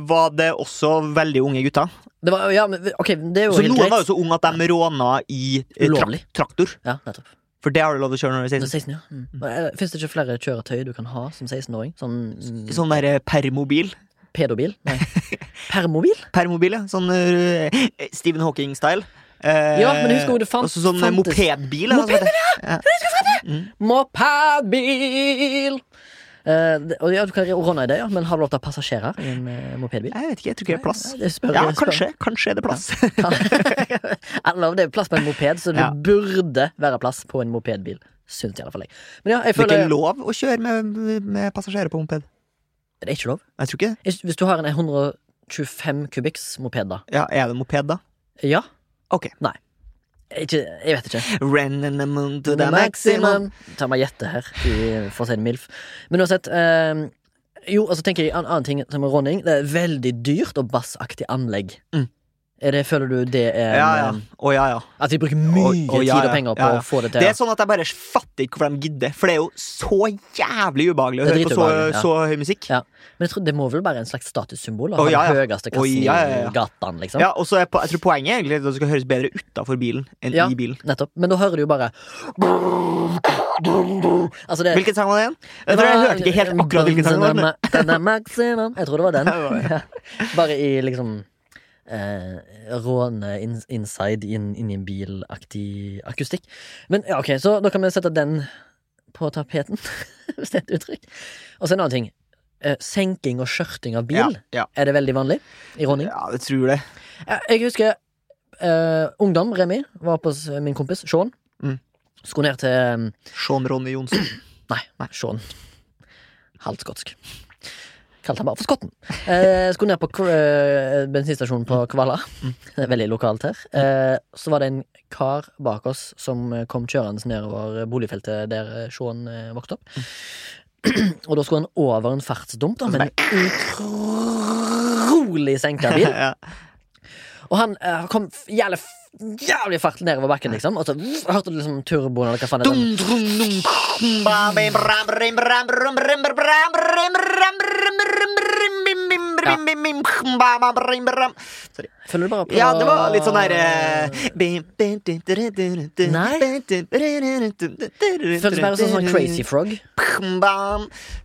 S2: var det også veldig unge gutter.
S1: Det var, ja, men, ok, det er jo
S2: Så
S1: helt
S2: noen
S1: greit.
S2: var jo så unge at de råna i eh, trak
S1: Ulovlig.
S2: traktor.
S1: Ja, nettopp.
S2: For det har du lov til å kjøre når du er
S1: Når
S2: 16.
S1: 16, ja. Mm. Eh, Fins det ikke flere kjøretøy du kan ha som 16-åring? Sånn mm,
S2: Sånn der eh, permobil.
S1: pedobil? Nei. Permobil?
S2: Permobil, ja. Sånn eh, Stephen Hawking-style. Eh,
S1: Ja, men husk hvor det fant-
S2: Også sånn eh,
S1: fantes-
S2: mopedbil. eller hva som heter.
S1: Mopedbil! Eh, det- og ja, du kan råne i det, ja, men har du lov til å ha passasjerer i en eh, mopedbil?
S2: Jeg vet ikke, jeg tror ikke det er plass.
S1: Nei, det spør-
S2: Ja,
S1: spør-
S2: kanskje, kanskje er det plass.
S1: Eller det er plass på en moped, så det
S2: Ja.
S1: burde være plass på en mopedbil. Syns i alle fall jeg. Men ja, jeg
S2: Det er
S1: føler
S2: ikke lov å kjøre med, med passasjerer på moped.
S1: Det er ikke lov.
S2: Jeg tror ikke det.
S1: Hvis hvis du har en 125 kubikks moped, da.
S2: Ja, Er det moped, da?
S1: Ja?
S2: Ok.
S1: Nei. Ikke, jeg vet ikke.
S2: Ren in the moon to
S1: The
S2: the maximum.
S1: Ta meg gjette her, i- for å si det milf. Men uansett eh, Jo, altså tenker jeg en annen ting som er råning. Det er veldig dyrt og bassaktig anlegg.
S2: Mm.
S1: Er det, føler du det er ehm,
S2: Ja, ja. Å, ja, ja.
S1: At de bruker mye
S2: Å, å, ja,
S1: tid og
S2: ja.
S1: penger på
S2: Ja, ja.
S1: å få det til?
S2: Det er sånn at jeg bare fatter ikke hvorfor de gidder, for det er jo så jævlig ubehagelig å
S1: Det er
S2: høre på så,
S1: dritubehagelig, ja.
S2: så høy musikk.
S1: ja. Men jeg tror det må vel være en slags statussymbol? Å ha
S2: Å,
S1: den
S2: ja, ja.
S1: høyeste
S2: Å,
S1: kassen
S2: ja, ja, ja.
S1: i gatan, liksom?
S2: Ja, og så er, po- Jeg tror poenget er egentlig at det skal høres bedre utafor bilen enn
S1: Ja.
S2: i bilen.
S1: Nettopp. Men da hører du jo bare Altså, det
S2: Hvilken sang var det igjen? Jeg tror jeg hørte ikke helt akkurat hvilken sang det var. men-
S1: var. Maximum. Jeg tror det var den.
S2: Ja, det var det.
S1: Ja. Bare i liksom eh, råne in, inside inn inn i en bilaktig akustikk. Men ja, ok, så da kan vi sette den på tapeten, hvis det er et uttrykk. Og så en annen ting. Eh, Senking og skjørting av bil
S2: Ja,
S1: er det veldig vanlig i
S2: ja.
S1: Ronning.
S2: ja jeg tror det.
S1: Jeg, jeg husker eh, ungdom, Remi, var på s- min kompis Sean.
S2: Mm.
S1: Skulle ned til
S2: Sean Ronny Johnsen.
S1: Nei, Sean. Halvt skotsk. Kalte han bare for Skotten. Eh, skulle ned på Kr- eh, bensinstasjonen på Kvala. Det er Veldig lokalt her. Eh, så var det en kar bak oss som eh, kom kjørende nedover boligfeltet der eh, Sean eh, vokste opp. Og da skulle han over en fartsdump, da, med en utrolig senka bil.
S2: ja.
S1: Og han eh, kom f- jævlig, f- jævlig fart nedover bakken, liksom. Og så v- hørte du liksom turboen eller hva faen det er.
S2: Dum, dum, dum. Bam, bam, bram, brim, bram, brum, brim, bram, bram, brim, bram, brim, brim, brim, brim, brim, brim, brim, brim, brim, bam, bam, brim, bram. Sorry.
S1: Følger du bare på
S2: Ja, det var litt sånn derre Nei.
S1: Føles mer som sånn Crazy Frog.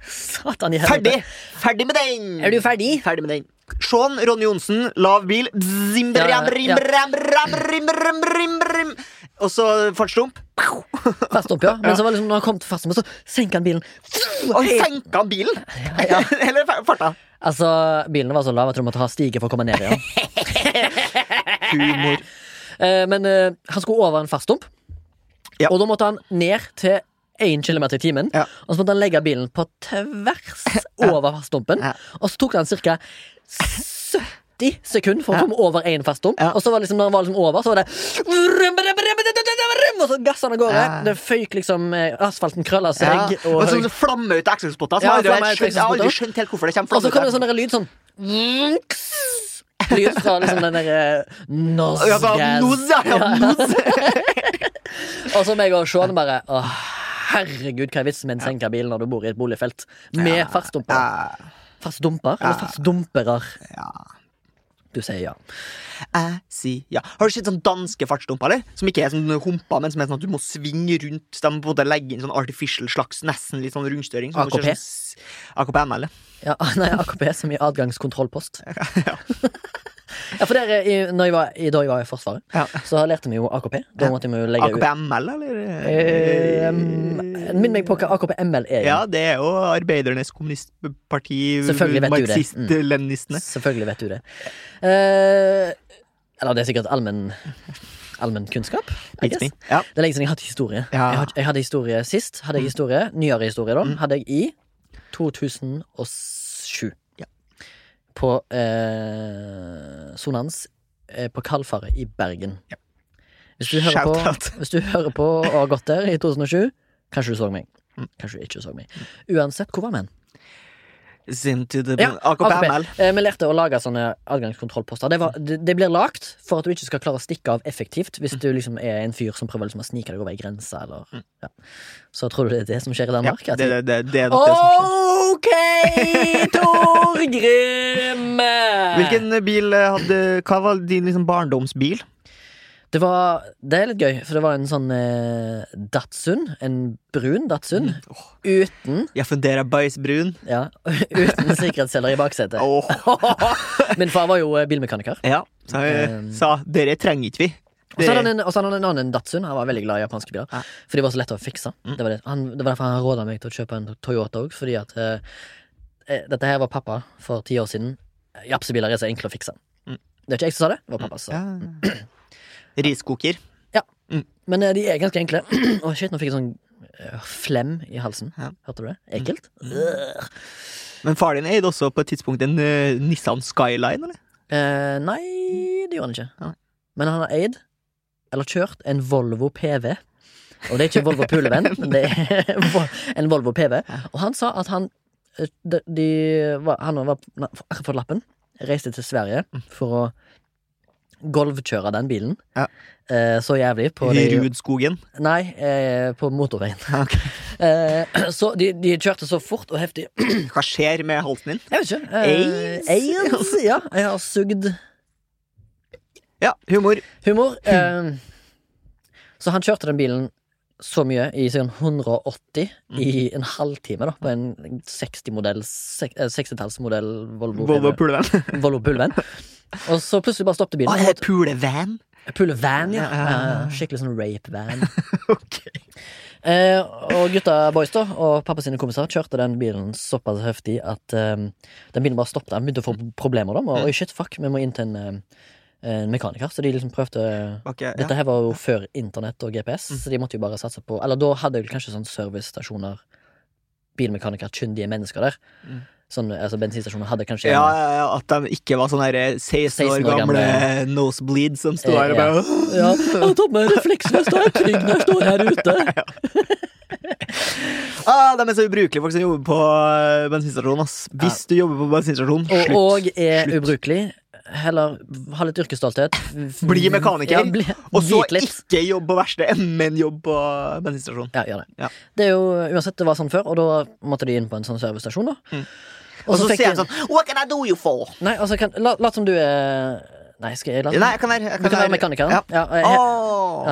S1: Satan i helvete.
S2: Ferdig! Ferdig med den!
S1: Er du ferdig?
S2: Ferdig med den. Sean Ronny Johnsen, lav bil Bzim,
S1: Ja, ja,
S2: bram, brim,
S1: ja.
S2: bram, bram, brim, bram, brim, brim. Og så fartsdump.
S1: Fast opp, ja. Men så var det liksom, når han kom til fartsdumpen, så senka han bilen.
S2: Og senka bilen!
S1: Ja.
S2: Eller fa- farta.
S1: Altså, bilene var så lave at du måtte ha stige for å komme ned igjen.
S2: Humor.
S1: Eh, Men eh, han skulle over en fartsdump,
S2: Ja.
S1: og da måtte han ned til 1 km i timen.
S2: Ja.
S1: Og så måtte han legge bilen på tvers over fartsdumpen,
S2: Ja.
S1: og så tok det han ca. 70 sekunder for å komme over én fartsdump.
S2: Ja.
S1: Og så var det liksom, når han var liksom over, så var det Og så gassa han av gårde.
S2: Ja.
S1: Det føyk liksom eh, Asfalten krølla
S2: Ja.
S1: seg.
S2: Og
S1: Og,
S2: sånn flamme ut av exospotter.
S1: Ja,
S2: Jeg har
S1: flamme ut av
S2: aldri skjønt- jeg har aldri
S1: exospotter.
S2: skjønt helt hvorfor det kommer
S1: og så kom det
S2: flamme
S1: en
S2: ut.
S1: sånn der lyd sånn Lyd fra liksom den derre
S2: av- Ja, da,
S1: Nosgas.
S2: nos, ja, ja, nos.
S1: Og så meg og Sean bare Å, herregud, hva er vitsen med en senka bil når du bor i et boligfelt? Med fartsdumper.
S2: Ja.
S1: Fartsdumper? Eller fartsdumperer?
S2: Ja.
S1: Du sier ja.
S2: Jeg sier ja. Har du sett sånn danske fartsdumper, eller? Som ikke er sånn humpa, men som er sånn at du må svinge rundt. De må både legge inn sånn artificial slags, nesten litt sånn rundstøring. så må du
S1: AKP?
S2: kjøre Sånn, s- AKP ML.
S1: ja nei, AKP er som i adgangskontrollpost. Ja, for der, i, når jeg var, i, da jeg var i Forsvaret,
S2: Ja.
S1: så lærte vi jo AKP. Da måtte vi jo legge
S2: AKP
S1: ut
S2: ML, eller?
S1: Eh, Minn meg på hva AKP-ML er.
S2: Ja,
S1: igjen.
S2: det er jo Arbeidernes Kommunistparti,
S1: Selvfølgelig vet du det.
S2: marxist-leninistene.
S1: Selvfølgelig vet du det. Eh, eller det er sikkert allmenn allmenn kunnskap. Mm. I guess.
S2: Ja.
S1: Det er lenge siden jeg har hatt historie.
S2: Ja. Mm.
S1: Jeg, hadde, jeg hadde historie sist. Hadde jeg historie, Nyere historie, da. Hadde jeg i 2007.
S2: Ja.
S1: På eh, Sonans eh, på Kalfaret i Bergen.
S2: Ja.
S1: Hvis, du hører på,
S2: Shout-out.
S1: hvis du hører på og har gått der i 2007, kanskje du så meg.
S2: Mm.
S1: Kanskje du ikke så meg. Uansett, hvor var vi hen?
S2: Sin to the
S1: Ja,
S2: AKP
S1: AKP.
S2: ML.
S1: Eh, Vi lærte å lage sånne adgangskontrollposter. Det, var, det, det blir lagt for at du ikke skal klare å stikke av effektivt hvis du liksom er en fyr som prøver liksom å snike deg over ei grense. Eller, ja. Så tror du det er det som skjer i
S2: Mm. Ja,
S1: Danmark?
S2: det,
S1: At
S2: det,
S1: de-
S2: det, det er nok det som
S1: Ok,
S2: skjer.
S1: Torgrim!
S2: Hvilken bil eh, hadde Hva var din liksom barndomsbil?
S1: Det, var, det er litt gøy, for det var en sånn eh, Datsun. En brun Datsun.
S2: Åh,
S1: Uten,
S2: Jeg funderer bæsjbrun.
S1: ja, uten sikkerhetsceller i baksetet.
S2: Åh
S1: Min far var jo eh, bilmekaniker.
S2: Ja, Ehm. så jeg
S1: Um,
S2: sa dere trenger ikke vi.
S1: Og så hadde
S2: Dere,
S1: han en, og så hadde han en annen Datsun. Han var veldig glad i japanske biler.
S2: Ja. Mm.
S1: For de var så lette å fikse. Det, var det. Han, det var derfor han råda meg til å kjøpe en Toyota òg. Fordi at eh, eh, dette her var pappa for ti år siden. Japsebiler er så enkle å fikse.
S2: Mm.
S1: Det er ikke jeg som sa det, det var pappa som sa det.
S2: ja. Riskoker.
S1: Men eh, de er ganske enkle. Å, shit, nå fikk jeg sånn eh, flem i halsen.
S2: Ja. Mm.
S1: Hørte du det? Ekkelt.
S2: Men far din eide også på et tidspunkt en eh, Nissan Skyline, eller?
S1: Eh, nei, det gjorde han ikke.
S2: Nei.
S1: Men han har eid, eller kjørt, en Volvo PV. Og det er ikke Volvo Pulevenn, det er en Volvo PV. Og han sa at han eh, de, de, var- Han var na- akkurat fått lappen, reiste til Sverige for å golvkjøre den bilen.
S2: Mm. Ja.
S1: Eh, så jævlig. På
S2: I
S1: de,
S2: Rudskogen.
S1: nei, eh, på motorveien.
S2: Ok.
S1: Eh, så de, de kjørte så fort og heftig
S2: Hva skjer med halsen din?
S1: Jeg vet ikke. eh,
S2: Aids?
S1: Aids? Ja, jeg har sugd
S2: Ja, humor.
S1: Humor. Eh, så han kjørte den bilen så mye, i sånn 180 i en halvtime, da, på en 60-modell 60-tallsmodell Volvo,
S2: Volvo
S1: PV.
S2: pulevan.
S1: Volvo Pullvan. Og så plutselig bare stoppet bilen.
S2: Å, er Ah, det pulevan?
S1: Pullvan, Ah, ja.
S2: Ja, ja, ja.
S1: Eh, Skikkelig sånn rape-van.
S2: Ok.
S1: Eh, og gutta boys da, og pappa sine kompiser kjørte den bilen såpass heftig at eh, den bilen bare stoppet. Han begynte å få problemer. da, og, Oi, shit, fuck, vi må inn til en, eh, en mekaniker. Så de liksom prøvde
S2: Okay,
S1: Dette her var jo før internett og
S2: Mm.
S1: GPS, så de måtte jo bare satse på Eller da hadde vel kanskje sånn servicestasjoner, bilmekaniker, kyndige mennesker der.
S2: Mm.
S1: Sånn, altså Bensinstasjoner hadde kanskje
S2: Ja, ja, ja, at de ikke var sånne her 16 år
S1: 16 år
S2: gamle
S1: gamle-
S2: nosebleeds som sto
S1: Eh,
S2: her og bare
S1: Ja, jeg har tatt med refleksvest og er trygg når jeg står her ute.
S2: ah, De er så ubrukelige, folk som jobber på eh, bensinstasjon. ass Hvis du jobber på bensinstasjon,
S1: Og,
S2: slutt.
S1: og er
S2: Slutt.
S1: ubrukelig. Heller ha litt yrkesstolthet.
S2: Bli mekaniker.
S1: Mm. Ja, bli-
S2: Og så
S1: bit litt.
S2: ikke jobb på verkstedet, men jobb på bensinstasjon.
S1: Ja, gjør det.
S2: Ja.
S1: Det er jo uansett, det var sånn før, og da måtte de inn på en sånn servicestasjon, da.
S2: Mm. Og så
S1: fikk
S2: sier
S1: de-
S2: de sånn What can I do you for?
S1: Nei, altså, kan, la, lat som du er Nei, skal jeg late
S2: Nei, jeg kan være, jeg
S1: Du kan være mekaniker. Ja. Ja, eh,
S2: Åh,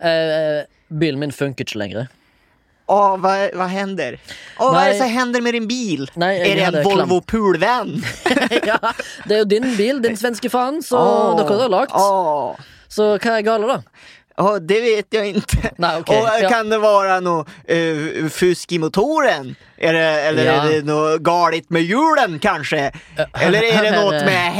S1: Ja. eh, bilen min funker ikke lenger.
S2: Åh, hva, hva hender? Åh, hva
S1: Nei.
S2: er det som hender med din bil?
S1: Nei, jeg
S2: er det en
S1: hadde
S2: Volvo Poolvan?
S1: ja, det er jo din bil, din svenske faen, så
S2: Åh,
S1: dere har lagd.
S2: åh.
S1: Så hva er gale, da?
S2: Åh, det vet jeg inte.
S1: Nej, okej.
S2: okay. Och eh,
S1: Ja.
S2: kan det vara något eh, fusk i motoren? Är det, eller
S1: Ja.
S2: är det något galet med hjulen kanske? Eller är det
S1: här
S2: något
S1: är-
S2: med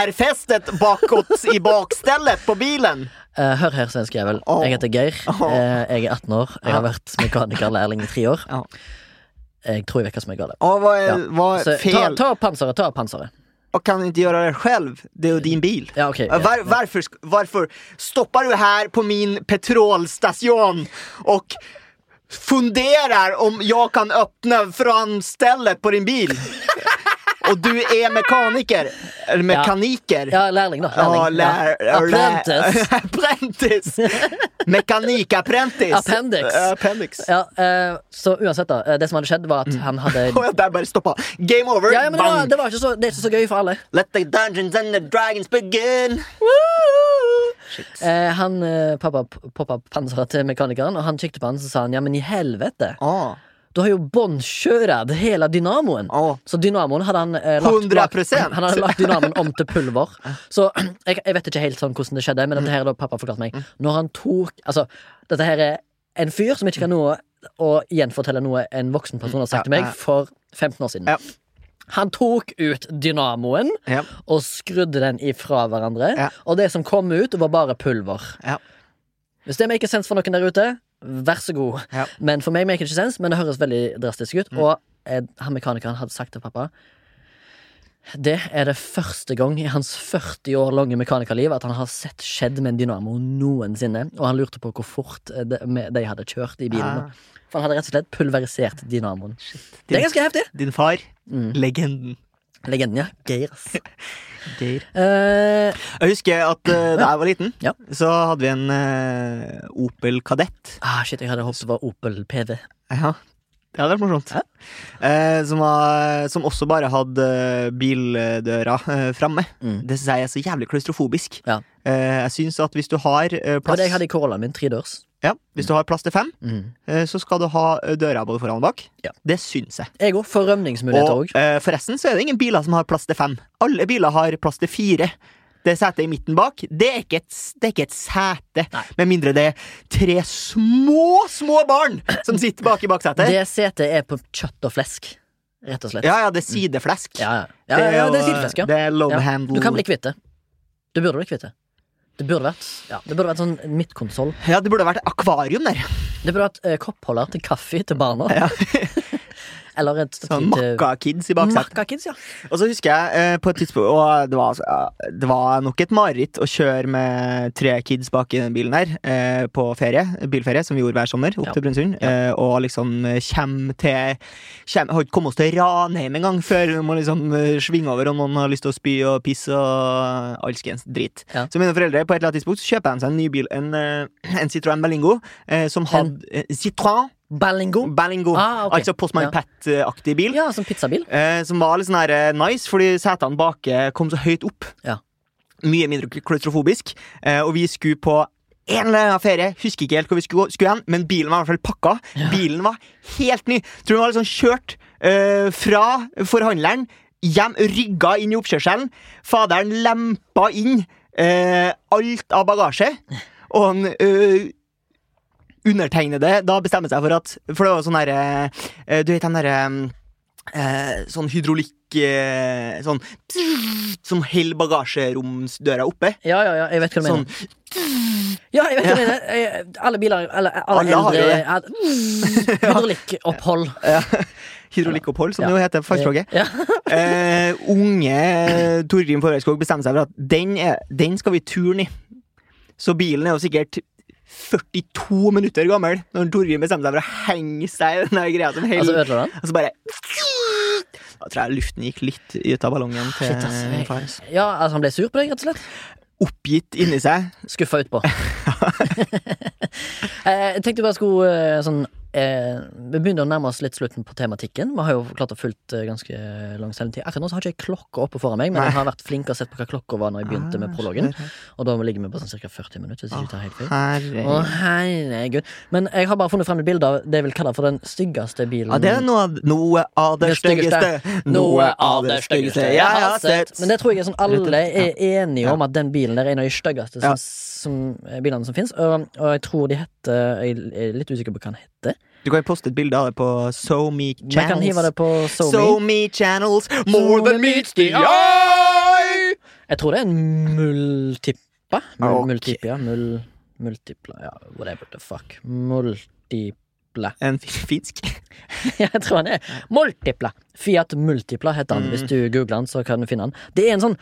S2: hängarfästet bakåt i bakstället på bilen?
S1: Eh, Hør her, svensk jævel.
S2: Åh.
S1: Jeg heter Geir.
S2: Åh.
S1: Eh, Jeg er 18 år. Jeg har
S2: Ja.
S1: vært mekanikerlærling i tre år.
S2: Ja.
S1: Jeg tror jeg vet hva som er gale.
S2: Ja, vad är,
S1: Ja.
S2: vad
S1: Så,
S2: är
S1: ta,
S2: fel?
S1: ta av panseret, ta av panseret.
S2: Och kan inte göra det själv? Det är ju din bil.
S1: Ja, ok.
S2: Ja, Var, varför, sk- varför stoppar du här på min petrolstation och funderar om jag kan öppna framstället på din bil? Och du är mekaniker. Eller mekaniker.
S1: Ja, lærling, da. Lærling.
S2: Ja, lär-
S1: ja. Apprentice.
S2: Apprentice. Mekanik-apprentice.
S1: Appendix.
S2: Appendix.
S1: Ja, eh, så uansett, da. eh, Det som hadde skjedd, var at han hadde
S2: Och där bara stoppa. Game over.
S1: Ja, ja, men det, var,
S2: Bang.
S1: det, var ikke så, det er ikke så gøy for alle.
S2: Let the dungeons and the dragons begin.
S1: Eh, han eh, pappa p- poppa panseret til mekanikeren, og han kikket på han så sa han ja, men i helvete,
S2: Ah,
S1: du har jo båndkjøret hele dynamoen.
S2: ah.
S1: Så dynamoen hadde han eh, lagt, lagt
S2: 100%.
S1: Han hadde lagt dynamoen om til pulver. Så jeg, jeg vet ikke helt sånn hvordan det skjedde, men dette her er da pappa forklarte meg.
S2: Mm.
S1: Når han tok Altså, dette her er en fyr som ikke kan noe å gjenfortelle noe en voksen person har sagt til
S2: Ja,
S1: meg
S2: ja.
S1: for 15 år siden.
S2: Ja.
S1: Han tok ut dynamoen
S2: Ja.
S1: og skrudde den ifra hverandre.
S2: Ja.
S1: Og det som kom ut, var bare pulver.
S2: Ja.
S1: Hvis det maker sense for noen der ute, vær så god.
S2: Ja.
S1: Men for meg maker det ikke sense, men det høres veldig drastisk ut. Og eh, han mekanikeren hadde sagt til pappa det er det første gang i hans 40 år lange mekanikerliv at han har sett skjedd med en dynamo noensinne. Og han lurte på hvor fort eh, de, med- de hadde kjørt i bilen.
S2: Ah.
S1: For han hadde rett og slett pulverisert dynamoen. Det er ganske heftig.
S2: Din far,
S1: Mm.
S2: legenden.
S1: Legenden, ja. Geir, ass.
S2: Geir.
S1: Eh,
S2: Jeg husker at eh, da jeg var liten,
S1: Ja.
S2: så hadde vi en eh, Opel Kadett.
S1: ah, shit, jeg hadde håpet det var Opel PV.
S2: Ja, det hadde vært morsomt. Eh, som, var, som også bare hadde eh, bildøra eh, framme.
S1: Mm.
S2: Det syns jeg er så jævlig klaustrofobisk.
S1: Ja.
S2: Eh, jeg syns at hvis du har eh,
S1: Og
S2: plass
S1: det jeg hadde i Corollaen min, tredørs.
S2: ja, Hvis du har plass til fem,
S1: Mm.
S2: eh, så skal du ha eh, døra både foran og bak.
S1: Ja.
S2: Det syns jeg.
S1: Jeg òg. For rømningsmuligheter
S2: Og
S1: òg.
S2: eh, forresten så er det ingen biler som har plass til fem. Alle biler har plass til fire. Det setet i midten bak, det er ikke et, s- det er ikke et sete.
S1: Nei.
S2: Med mindre det er tre små, små barn som sitter bak i baksetet.
S1: Det setet er på kjøtt og flesk, rett og slett.
S2: Ja, ja, det er sideflesk.
S1: ja, ja. ja, ja, ja det er
S2: jo,
S1: sideflesk, ja.
S2: Det er love
S1: Ja.
S2: handle.
S1: Du kan bli kvitt det. Du burde bli kvitt det. Det burde vært ja, Det burde vært sånn midtkonsoll.
S2: Ja, det burde vært akvarium der.
S1: Det burde vært eh, koppholder til kaffe til barna. Eller et stativ
S2: Sånn
S1: til
S2: Makka-kids i baksetet.
S1: Makka-kids, ja.
S2: Og så husker jeg eh, på et tidspunkt Og det var, altså, ja, det var nok et mareritt å kjøre med tre kids bak i den bilen her eh, på ferie, bilferie, som vi gjorde hver sommer opp
S1: Ja.
S2: til Brønnøysund. Eh, og liksom eh, kjem til kjem, Har ikke kommet oss til Ranheim engang før vi må liksom eh, svinge over om noen har lyst til å spy og pisse og alskens drit.
S1: Ja.
S2: Så mine foreldre på et eller annet tidspunkt så kjøper de seg en ny bil, en, eh, en Citroën Berlingo, eh, som hadde eh, Citroën
S1: Ballingo.
S2: Berlingo,
S1: Ah, ok.
S2: altså Postman
S1: Ja.
S2: Pat-aktig bil.
S1: Ja, som pizzabil.
S2: Eh, som var litt sånn her eh, nice, fordi setene bak eh, kom så høyt opp.
S1: Ja.
S2: Mye mindre kla- klaustrofobisk. Eh, og vi skulle på en eller annen ferie, husker ikke helt hvor vi skulle, gå- skulle hen, men bilen var i hvert fall pakka. Bilen var helt ny. Tror den var liksom kjørt eh, fra forhandleren, hjem, rygga inn i oppkjørselen. Faderen lempa inn eh, alt av bagasje, og han eh, undertegnede da bestemmer seg for at For det var jo sånn derre eh, Du vet den derre eh, Sånn hydraulikk eh, Sånn Som holder bagasjeromsdøra oppe.
S1: Ja, ja, ja, jeg vet hva du
S2: Sånn.
S1: mener. Ja, jeg vet hva du mener. Eh, Alle biler, eller alle,
S2: Alle har jo
S1: eldre har Hydraulikkopphold.
S2: Ja. Hydraulikkopphold, som
S1: Ja.
S2: det jo heter på fagspråket.
S1: Ja.
S2: Eh, unge Torgrim Forhøgskog bestemmer seg for at den, er, den skal vi turne i. Så bilen er jo sikkert 42 minutter gammel når Torgrim bestemmer seg for å henge seg i den der greia som
S1: Altså,
S2: holder.
S1: ødela den?
S2: Og så bare Da tror jeg luften gikk litt ut av ballongen til
S1: Shit, altså, ass.
S2: min far.
S1: Ja, altså, han ble sur på deg, rett og slett?
S2: Oppgitt inni seg.
S1: Skuffa utpå. Eh, Jeg tenkte bare skulle eh, sånn eh, Vi begynner å nærme oss litt slutten på tematikken. Vi har jo klart å fulgt eh, ganske lang sendetid. Akkurat nå så har jeg ikke klokka oppe foran meg, men jeg har vært flink og sett på hva klokka var når jeg begynte
S2: Ah,
S1: med prologen. Og da ligger vi på sånn ca. 40 minutter. Hvis jeg ikke tar helt feil. Å,
S2: Herregud.
S1: herregud. Men jeg har bare funnet frem et bilde av det jeg vil kalle for den styggeste bilen.
S2: Ja, det er noe, av- noe av det
S1: Det styggeste.
S2: styggeste. Noe av det styggeste jeg har sett.
S1: Men det tror jeg er sånn alle er enige
S2: Ja.
S1: om at den bilen der er en av de styggeste som,
S2: Ja.
S1: som, eh, bilene som fins. Og, og jeg tror de heter Jeg er litt usikker på hva den heter.
S2: Du kan jo poste et bilde av det på SoMe
S1: Men jeg kan hive det
S2: Channels.
S1: på SoMe.
S2: SoMe Channels, more than meets the eye!
S1: Jeg tror det er en multippa. Mul,
S2: Ok.
S1: Multipia. Mul, multipla. Ja, whatever the fuck. Multipla.
S2: En fi- finsk.
S1: Ja, jeg tror han er. Multipla. Fiat Multipla heter han.
S2: Mm.
S1: Hvis du googler han, så kan du finne han. Det er en sånn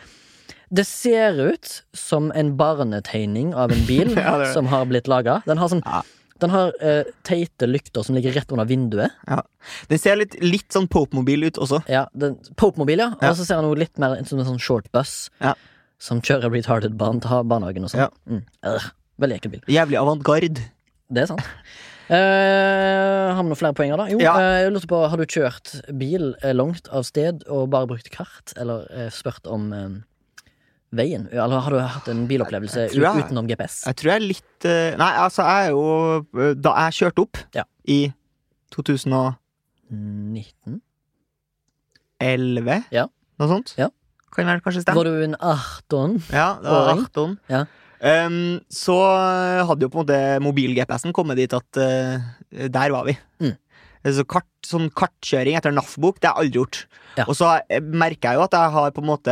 S1: Det ser ut som en barnetegning av en bil
S2: Ja, det er det.
S1: som har blitt laga. Den har sånn
S2: Ja.
S1: Den har eh, teite lykter som ligger rett under vinduet.
S2: Ja. Den ser litt, litt sånn Pope-mobil ut også.
S1: Ja, den- Pope-mobil, ja.
S2: Ja.
S1: Og så ser han noe litt mer ut som en sånn shortbus
S2: Ja.
S1: som kjører retarded barn til ha- barnehagen og sånn.
S2: Ja.
S1: Mm. Øh, veldig ekkel bil.
S2: Jævlig avantgarde.
S1: Det er sant. Eh, har vi noen flere poenger, da? Jo,
S2: Ja.
S1: eh, jeg lurte på Har du kjørt bil eh, langt av sted og bare brukt kart, eller eh, spurt om eh, veien? Eller har du hatt en bilopplevelse
S2: Jeg- jeg tror
S1: ut-
S2: jeg-
S1: utenom GPS?
S2: Jeg tror jeg er litt eh, Nei, altså, jeg er jo eh, Da jeg kjørte opp
S1: Ja.
S2: i 2011
S1: 19? Ja.
S2: Noe sånt?
S1: Ja.
S2: Kan vel kanskje stemme?
S1: Var du en 18?
S2: Ja, det var
S1: Åring?
S2: Achton.
S1: Ja.
S2: Ehm, så eh, hadde jo på en måte mobil-GPS-en kommet dit at eh, der var vi.
S1: Mm.
S2: Så kart, sånn kartkjøring etter NAF-bok, det har jeg aldri gjort.
S1: Ja.
S2: Og så eh, merker jeg jo at jeg har på en måte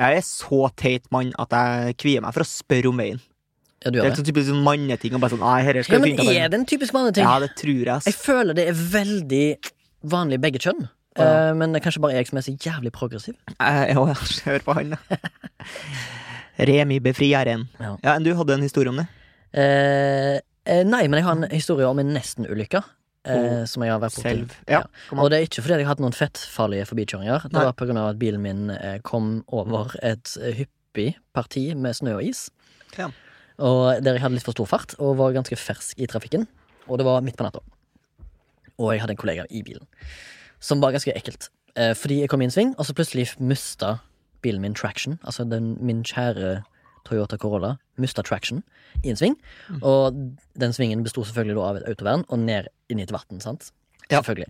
S2: Jeg er så teit mann at jeg kvier meg for å spørre om veien.
S1: Ja, du
S2: Det er
S1: gjør
S2: en
S1: det.
S2: sånn typisk sånn manneting. Og bare sånn, «Nei, herre, skal
S1: Ja,
S2: jeg
S1: men
S2: finne ut av
S1: er
S2: veien?»
S1: det en typisk manneting?
S2: Ja, det tror jeg.
S1: Jeg
S2: Ass.
S1: føler det er veldig vanlig i begge kjønn.
S2: Ja.
S1: Eh, men det er kanskje bare jeg som er så jævlig progressiv.
S2: Eh, ja, Hør på han, da. Remi befrieren.
S1: Ja.
S2: Ja, enn du hadde en historie om det?
S1: Eh, eh, nei, men jeg har en historie om en nesten-ulykke. Eh,
S2: Oh,
S1: som jeg har vært borti.
S2: Selv. Ja,
S1: Ja.
S2: kom
S1: Og
S2: an.
S1: det er ikke fordi jeg har hatt noen fettfarlige forbikjøringer. Det
S2: Nei.
S1: var på grunn av at bilen min eh, kom over et eh, hyppig parti med snø og is.
S2: Ja.
S1: Og der jeg hadde litt for stor fart og var ganske fersk i trafikken. Og det var midt på natta. Og jeg hadde en kollega i bilen. Som var ganske ekkelt. Eh, fordi jeg kom i en sving, og så plutselig mista bilen min traction. Altså den, min kjære Toyota Corolla mista traction i en sving.
S2: Mm.
S1: Og den svingen besto selvfølgelig da av et autovern og ned inn i et vann, sant?
S2: Ja.
S1: Selvfølgelig.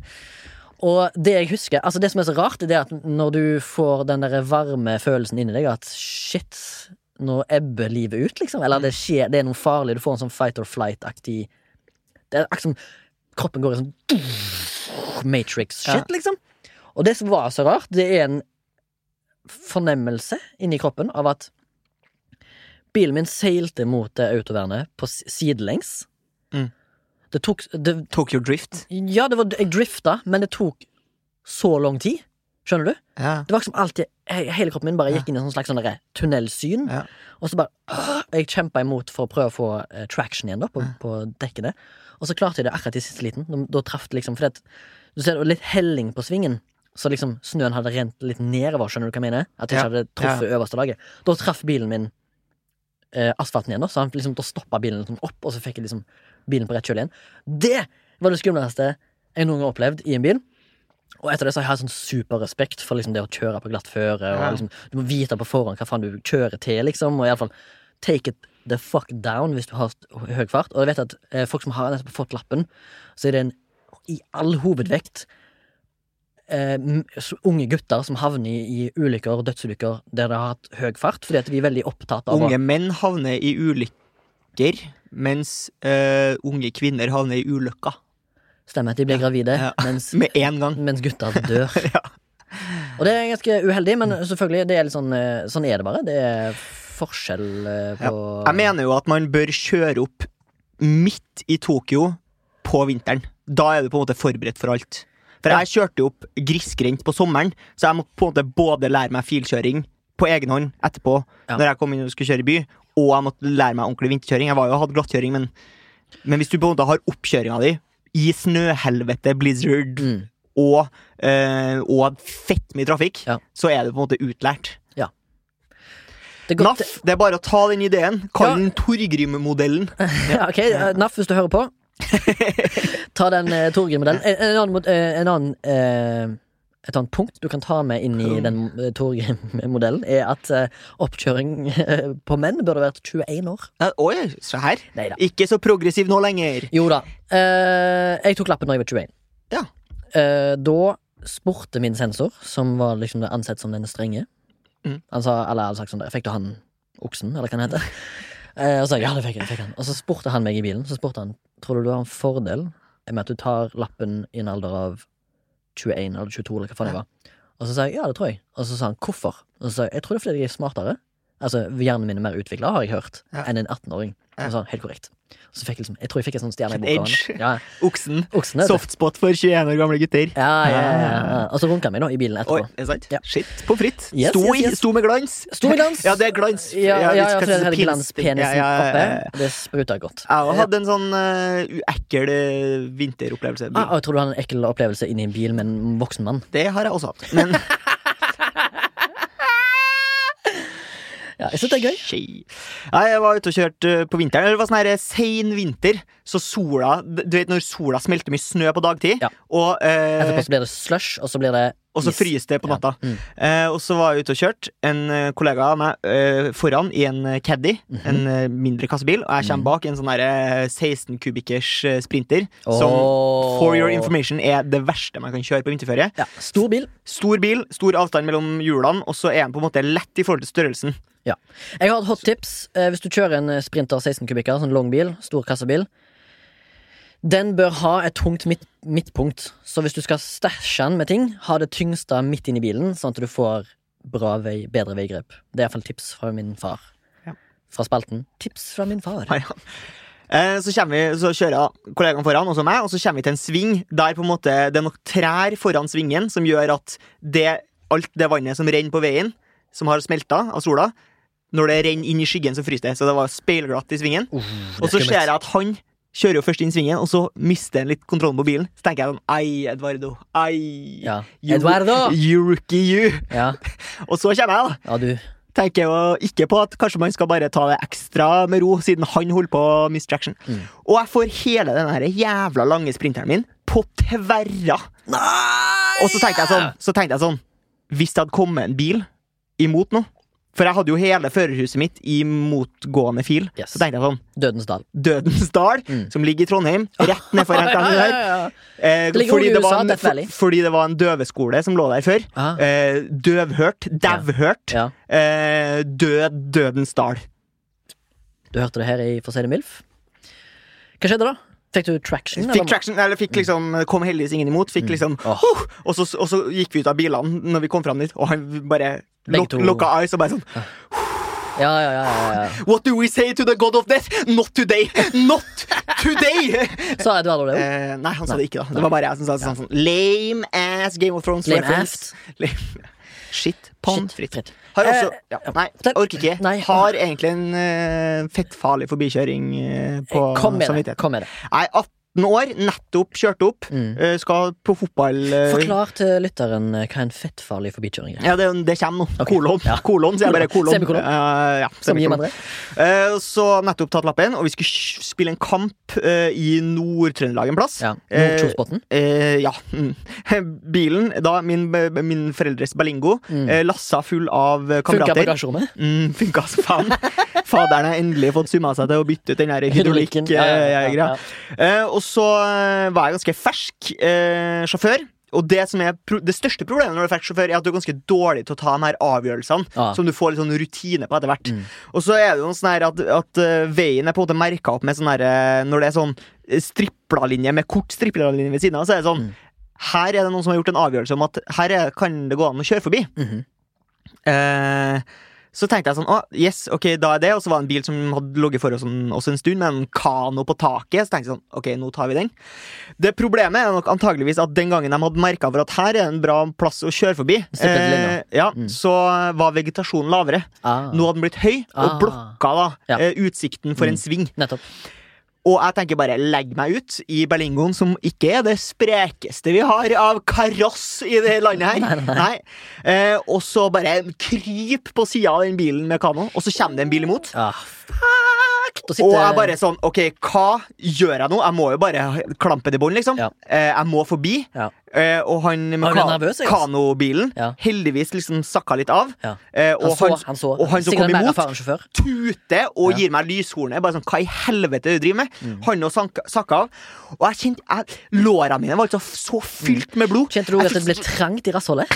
S1: Og det jeg husker, altså det som er så rart, det er at når du får den der varme følelsen inni deg at shit, nå ebber livet ut, liksom. Eller det skjer, det er noe farlig. Du får en sånn fight or flight-aktig Det er akkurat som kroppen går i sånn Matrix-shit, liksom. Og det som var så rart, det er en fornemmelse inni kroppen av at bilen min seilte mot det autovernet på s- sidelengs.
S2: Mm.
S1: Det tok det,
S2: Tokyo Drift.
S1: ja, det var, jeg drifta, men det tok så lang tid. Skjønner du?
S2: Ja.
S1: Det var som alltid he- Hele kroppen min bare gikk inn i en sånn slags sånn derre tunnelsyn.
S2: Ja.
S1: Og så bare «Åh!» Jeg kjempa imot for å prøve å få eh, traction igjen da på, på dekkene. Og så klarte jeg det akkurat i siste liten. Da, da traff det liksom fordi at, Du ser det var litt helling på svingen, så liksom snøen hadde rent litt nedover. Skjønner du hva jeg mener? At jeg ikke
S2: Ja.
S1: hadde truffet øverste laget. Da traff bilen min eh, asfalten igjen, da, så han liksom, da stoppa bilen liksom opp, og så fikk jeg liksom bilen på rett kjøl igjen. Det var det skumleste jeg noen gang har opplevd i en bil. Og etter det så har jeg sånn superrespekt for liksom det å kjøre på glatt føre. Og
S2: Ja.
S1: liksom, du må vite på forhånd hva faen du kjører til, liksom. Og i alle fall take it the fuck down hvis du har st- høy fart. Og jeg vet at eh, folk som har nettopp fått lappen, så er det en, i all hovedvekt eh, m- s- unge gutter som havner i, i ulykker og dødsulykker der de har hatt høy fart, fordi at de er veldig opptatt av å-
S2: Unge menn havner i ulykker snakker, mens eh, unge kvinner havner i ulykka.
S1: Stemmer at de blir gravide,
S2: Ja.
S1: mens,
S2: Med en gang.
S1: mens gutta dør. Og det er ganske uheldig, men selvfølgelig, det er litt sånn, eh, sånn er det bare. Det er forskjell eh, på
S2: Jeg mener jo at man bør kjøre opp midt i Tokyo på vinteren. Da er du på en måte forberedt for alt. For jeg kjørte jo opp grisgrendt på sommeren, så jeg måtte på en måte både lære meg filkjøring på egen hånd etterpå,
S1: Ja.
S2: når jeg kom inn og skulle kjøre i by, og jeg måtte lære meg ordentlig vinterkjøring. Jeg var jo hadde glattkjøring, men, men hvis du på en måte har oppkjøringa di i snøhelvete, blizzard
S1: Mm.
S2: og, eh, og fett mye trafikk,
S1: Ja.
S2: så er du på en måte utlært.
S1: Det er
S2: NAF,
S1: godt,
S2: det er bare å ta den ideen.
S1: Ja.
S2: Kall den Torgrim-modellen.
S1: Ja, ok, eh, NAF, hvis du hører på. ta den eh, Torgrim-modellen. En, en annen, mod- eh, en annen eh, et annet punkt du kan ta med inn i den eh, Torgrim-modellen, er at eh, oppkjøring eh, på menn burde vært 21 år.
S2: Ja, Oi, se her.
S1: Neida.
S2: Ikke så progressiv nå lenger.
S1: Jo da. Eh, jeg tok lappen da jeg var 21.
S2: Ja.
S1: Eh, da spurte min sensor, som var liksom ansett som den strenge
S2: Mm.
S1: Han sa, eller han sa sånn der, Fikk du han oksen, eller hva han heter? Eh, og så sa jeg, ja, det fikk jeg, det fikk han. Og så spurte han meg i bilen. Så spurte han Tror du du har en fordel med at du tar lappen i en alder av 21 eller 22, eller hva faen det var. Og så sa jeg ja, det tror jeg. Og så sa han hvorfor. Og så sa jeg jeg tror det er fordi jeg er smartere. Altså Hjernen min er mer utvikla, har jeg hørt,
S2: Ja.
S1: enn en 18-åring. Og
S2: Ja.
S1: så sa han helt korrekt. Og så fikk jeg liksom Jeg tror jeg fikk en sånn stjerne i
S2: An
S1: boka. av
S2: edge.
S1: han. Ja,
S2: Oksen.
S1: oksen, vet du.
S2: Softspot for 21 år gamle gutter.
S1: Ja, ja, ja, ja. Og så runka han meg nå, i bilen
S2: Ah. Oi,
S1: etterpå.
S2: er det sant?
S1: Ja.
S2: Shit, på fritt.
S1: Yes,
S2: sto,
S1: yes,
S2: i-
S1: yes.
S2: sto med glans.
S1: Sto med glans.
S2: ja, det er glans.
S1: Ja, ja, ja, for den
S2: det
S1: hadde
S2: skal-
S1: glanspenisen
S2: Ja, ja, ja, ja.
S1: oppe. Det spruta godt.
S2: Jeg har hatt en sånn eh, uekkel eh, vinteropplevelse.
S1: Ah, og jeg tror du hadde en ekkel opplevelse inni en bil med en voksen mann.
S2: Det har jeg også hatt. Men
S1: Ja, jeg synes det er gøy.
S2: Shit. Nei, jeg var ute og kjørte eh, på vinteren. Det var sånn her eh, sein vinter, så sola Du vet når sola smelter mye snø på dagtid,
S1: Ja.
S2: og eh,
S1: Etterpå så blir det slush, og så blir det
S2: Og så
S1: is.
S2: fryser det på
S1: Ja.
S2: natta.
S1: Mm.
S2: Eh, og så var jeg ute og kjørte. En eh, kollega av meg eh, foran i en eh, caddy,
S1: Mhm.
S2: en eh, mindre kassebil, og
S1: Mm.
S2: jeg kommer bak i en sånn der, eh, 16 kubikkers eh, sprinter, som
S1: Åh.
S2: for your information er det verste man kan kjøre på vinterføre.
S1: Ja, stor bil.
S2: Stor bil, stor avstand mellom hjulene, og så er den på en måte lett i forhold til størrelsen.
S1: Ja. Jeg har et hot tips. Eh, Hvis du kjører en eh, Sprinter 16 kubikker, sånn lang bil, stor kassebil Den bør ha et tungt midt, midtpunkt. Så hvis du skal stæsje den med ting, ha det tyngste midt inni bilen, sånn at du får bra vei, bedre veigrep. Det er iallfall tips fra min far.
S2: Ja.
S1: Fra spalten 'Tips fra min far'.
S2: Nei, ja. Eh, Så, kommer vi, så kjører kollegaen foran, og så meg, og så kommer vi til en sving der på en måte det er nok trær foran svingen som gjør at det, alt det vannet som renner på veien, som har smelta av sola, når det renner inn i skyggen, så fryser det. Så det var speilglatt i svingen.
S1: Uh, det er
S2: Og så
S1: skummelt.
S2: ser jeg at han kjører jo først inn svingen, og så mister han litt kontrollen på bilen. Så tenker jeg sånn Ei, Eduardo. Ei.
S1: Ja.
S2: You-
S1: Eduardo!
S2: You rookie, you.
S1: Ja,
S2: Og så kommer jeg, da
S1: ja du.
S2: tenker jo ikke på at kanskje man skal bare ta det ekstra med ro, siden han holder på å miste traction.
S1: Mm.
S2: Og jeg får hele den her jævla lange sprinteren min på tverra. Og så tenkte jeg sånn, så tenkte jeg sånn Hvis det hadde kommet en bil imot nå For jeg hadde jo hele førerhuset mitt i motgående fil.
S1: Yes. Mm.
S2: Så tenkte jeg sånn
S1: Dødens dal.
S2: Dødens dal, som ligger i Trondheim, rett nedfor NTNU der. Eh,
S1: Det ligger
S2: fordi,
S1: jo i
S2: det var
S1: USA,
S2: en,
S1: Death Valley.
S2: for, fordi det var en døveskole som lå der før.
S1: Ah.
S2: Eh, døvhørt, dauhørt,
S1: Ja.
S2: eh, død, dødens dal.
S1: Du hørte det her i For å si det milf. Hva skjedde da? Fikk du traction?
S2: Fikk
S1: eller? Mm.
S2: traction, eller fikk liksom, kom heldigvis ingen imot. Fikk liksom,
S1: Åh.
S2: «Huh!» og, så, og så gikk vi ut av bilene når vi kom fram dit, og han bare
S1: Begge
S2: luk,
S1: to. Ah.
S2: lukka eyes og bare sånn
S1: Ja, ja, ja, ja, ja.
S2: What do we say to the god of death? Not today! Not today!
S1: Sa Eduardo det òg?
S2: Eh, nei, han sa
S1: Nei.
S2: det ikke, da. Det var bare jeg som sa det sånn, sånn lame ass Game of Thrones
S1: Lame
S2: reference. Lame. Shit. Pommes frites.
S1: fritt.
S2: Har også
S1: Eh,
S2: ja,
S1: ja.
S2: Nei,
S1: Fortell.
S2: orker ikke.
S1: Nei.
S2: Har egentlig en eh, fettfarlig forbikjøring eh, på
S1: Kom med det.
S2: samvittigheten.
S1: Kom med det.
S2: Jeg er 18 år, nettopp kjørt opp,
S1: Mm.
S2: eh, skal på fotball... eh,
S1: Forklar til lytteren eh, hva en fettfarlig forbikjøring er.
S2: ja, det, det kommer nå.
S1: Ok.
S2: Kolon.
S1: Ja.
S2: Kolon, sier jeg bare. Kolon.
S1: Semikolon.
S2: Eh, ja,
S1: Som gir
S2: semikolon.
S1: meg det.
S2: Eh, så nettopp tatt lappen, og vi skulle sj- spille en kamp eh, i Nord-Trøndelag en plass.
S1: Ja.
S2: Eh,
S1: Nordkjosbotn.
S2: Eh, ja. Mm. Bilen, da, min, min foreldres Berlingo,
S1: Mm.
S2: eh, lassa full av eh,
S1: Funka
S2: kamerater.
S1: bagasjerommet.
S2: Mm, funka som faen. Faderen har endelig fått summa seg til å bytte ut den der eh,
S1: Hydraulikken.
S2: hydraulikk-greia.
S1: Ja, ja, ja, ja.
S2: Eh, og så eh, var jeg ganske fersk eh, sjåfør. Og det som er pro det største problemet når du er fraktsjåfør, er at du er ganske dårlig til å ta de her avgjørelsene
S1: Ja. Ah,
S2: som du får litt sånn rutine på etter hvert.
S1: Mm.
S2: Og så er det jo sånn her at, at eh, veien er på en måte merka opp med sånn her eh, Når det er sånn eh, stripla linje med kort stripla linje ved siden av, så er det sånn
S1: Mm.
S2: Her er det noen som har gjort en avgjørelse om at her er, kan det gå an å kjøre forbi.
S1: Mhm.
S2: Eh, så tenkte jeg sånn, å, yes, ok, da er det Og så var det en bil som hadde ligget for oss en, oss en stund Med en kano på taket Så tenkte jeg sånn, ok, nå tar vi den Det problemet er nok antageligvis at den gangen de hadde merket For at her er en bra plass å kjøre forbi eh,
S1: Steppet lenger.
S2: ja,
S1: Mm.
S2: Så var vegetasjonen lavere
S1: Ah,
S2: Nå hadde den blitt høy Og
S1: Ah.
S2: blokka da
S1: Ja.
S2: eh, utsikten for
S1: Mm.
S2: en sving
S1: Nettopp.
S2: og jeg tenker bare, legg meg ut i Berlingoen, som ikke er det sprekeste vi har av kaross i det landet her. Nei, Eh, og så bare kryp på sida av den bilen med kano, og så kommer det en bil imot.
S1: Ah, fuck! Da sitter
S2: Og jeg bare sånn, ok, hva gjør jeg nå? Jeg må jo bare klampe det i bånd, liksom.
S1: Ja.
S2: Eh, jeg må forbi.
S1: Ja.
S2: Eh, og han med
S1: Var du
S2: ka
S1: nervøs, Jens?
S2: kanobilen
S1: Ja.
S2: heldigvis liksom sakka litt av.
S1: Ja.
S2: Eh,
S1: Han
S2: og
S1: så,
S2: han,
S1: han så.
S2: og han som
S1: Sikkert
S2: kom
S1: en mer
S2: imot-
S1: erfaren sjåfør.
S2: tute og
S1: Ja. Mm.
S2: gir meg lyshornet. Bare sånn, Hva i helvete er det du driver med? Han og sanka, sakka av. Og jeg kjente jeg, Låra mine var altså så fylt med blod.
S1: Mm. Kjente du
S2: Jeg
S1: at det
S2: så-
S1: ble trangt i rassholdet?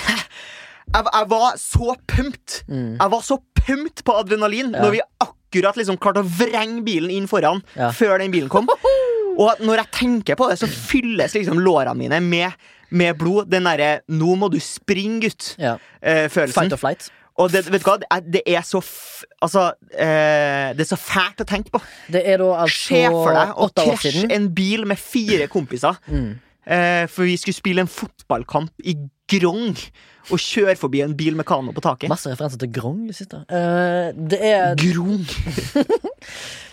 S2: jeg, jeg var så pumped. Jeg var så pumped på adrenalin
S1: Mm. Ja.
S2: når vi akkurat liksom klarte å vrenge bilen inn foran
S1: Ja.
S2: før den bilen kom. Og at når jeg tenker på det, så fylles liksom lårene mine med, med blod. Den derre 'nå må du springe, eh, gutt'-følelsen.
S1: Ja. Fight or flight.
S2: Og det, vet du hva, det er- det er så f Altså, eh, det er så fælt å tenke på.
S1: Det er da altså
S2: Se for deg å
S1: åtte år
S2: krasje
S1: siden.
S2: en bil med fire kompiser.
S1: Mm.
S2: Eh, for vi skulle spille en fotballkamp i Grong og kjøre forbi en bil med kano på taket.
S1: Masse referanser til Grong. du sitter. Eh, det er,
S2: Grong!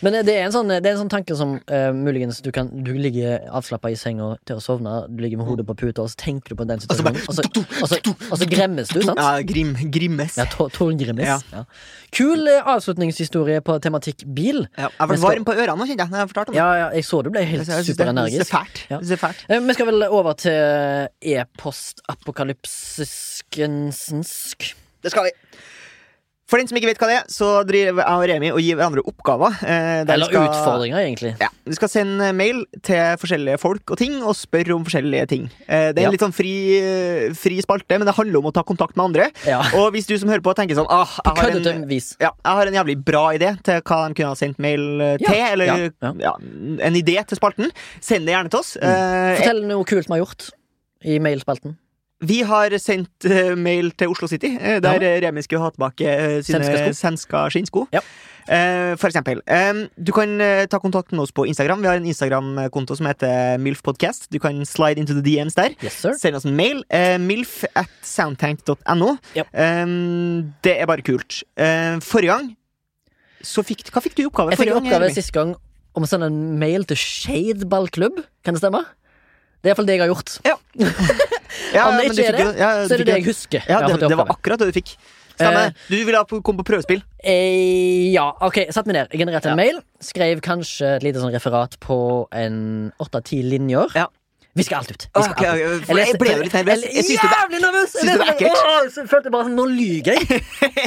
S1: men det er, en sånn, det er en sånn tanke som eh, muligens du, kan, du ligger avslappa i senga til å sovne, du ligger med hodet på puta, og så tenker du på den situasjonen, og så, og så, og så gremmes du, sant?
S2: Ja, grim, grimmes.
S1: Ja,
S2: Ja,
S1: Tor- Torgrimnes.
S2: Ja.
S1: Ja. Kul eh, avslutningshistorie på tematikk bil.
S2: jeg ble
S1: Men skal-
S2: varm på ørene nå, kjente jeg. Når jeg fortalte om det.
S1: Ja, ja, jeg så du ble
S2: Jeg
S1: helt
S2: synes det- Det er
S1: superenergisk.
S2: fælt.
S1: Ja.
S2: Det er fælt.
S1: Eh, Vi skal vel over til e-postapokalypsiskensnsk.
S2: Det skal vi. For den som ikke vet hva det er, så driver jeg og Remi og gir hverandre oppgaver. eh, der vi
S1: Eller
S2: skal-
S1: utfordringer, egentlig.
S2: Ja, Vi skal sende mail til forskjellige folk og ting og spørre om forskjellige ting. Eh, Det er
S1: Ja.
S2: en litt sånn fri, eh, fri spalte, men det handler om å ta kontakt med andre.
S1: Ja.
S2: Og hvis du som hører på tenker sånn ah, jeg, har
S1: Køddete
S2: en,
S1: vis.
S2: ja, jeg har en jævlig bra idé til hva de kunne ha sendt mail eh,
S1: Ja,
S2: til, eller
S1: ja,
S2: ja,
S1: ja. Mm.
S2: en idé til spalten, send det gjerne til oss. Eh,
S1: Fortell noe kult vi har gjort i mailspalten.
S2: vi har sendt eh, mail til Oslo City, eh, der
S1: Ja.
S2: eh, Remi skulle ha tilbake eh,
S1: Svenska sko.
S2: sine svenska skinnsko.
S1: Ja.
S2: Eh, for eksempel. eh, du kan eh, ta kontakt med oss på Instagram. Vi har en Instagram-konto som heter MILFpodcast. Du kan slide into the DMs der.
S1: Yes, sir.
S2: Send oss en mail. eh, milf at soundtank.no.
S1: Ja.
S2: Eh, det er bare kult. Eh, forrige gang så fikk, Hva fikk du i oppgave?
S1: Jeg fikk
S2: forrige
S1: en
S2: gang,
S1: oppgave
S2: Remi?
S1: siste gang om å sende en mail til Shade ballklubb. Kan det stemme? Det er iallfall det jeg har gjort.
S2: Ja,
S1: Om det
S2: men du
S1: ikke er
S2: fikk jo- ja,
S1: Så
S2: du
S1: er det
S2: fikk
S1: det
S2: en-
S1: jeg husker.
S2: ja,
S1: jeg har
S2: det,
S1: fått i
S2: det var
S1: oppgave.
S2: akkurat det du fikk. Stemmer.
S1: Eh,
S2: du ville ha på- komme på prøvespill.
S1: Eh, ja, ok, satt meg ned, genererte en
S2: Ja.
S1: mail Skrev kanskje et lite sånn referat på en 8-10 linjer
S2: Ja.
S1: Vi skal alt ut Vi
S2: Ah,
S1: skal
S2: ok,
S1: alt ut.
S2: ok, for jeg ble jo litt nervøs. Jeg synes det var-
S1: jævlig nervøs Jeg
S2: synes det var
S1: leste- Åh, så følte jeg bare sånn, nå lyger jeg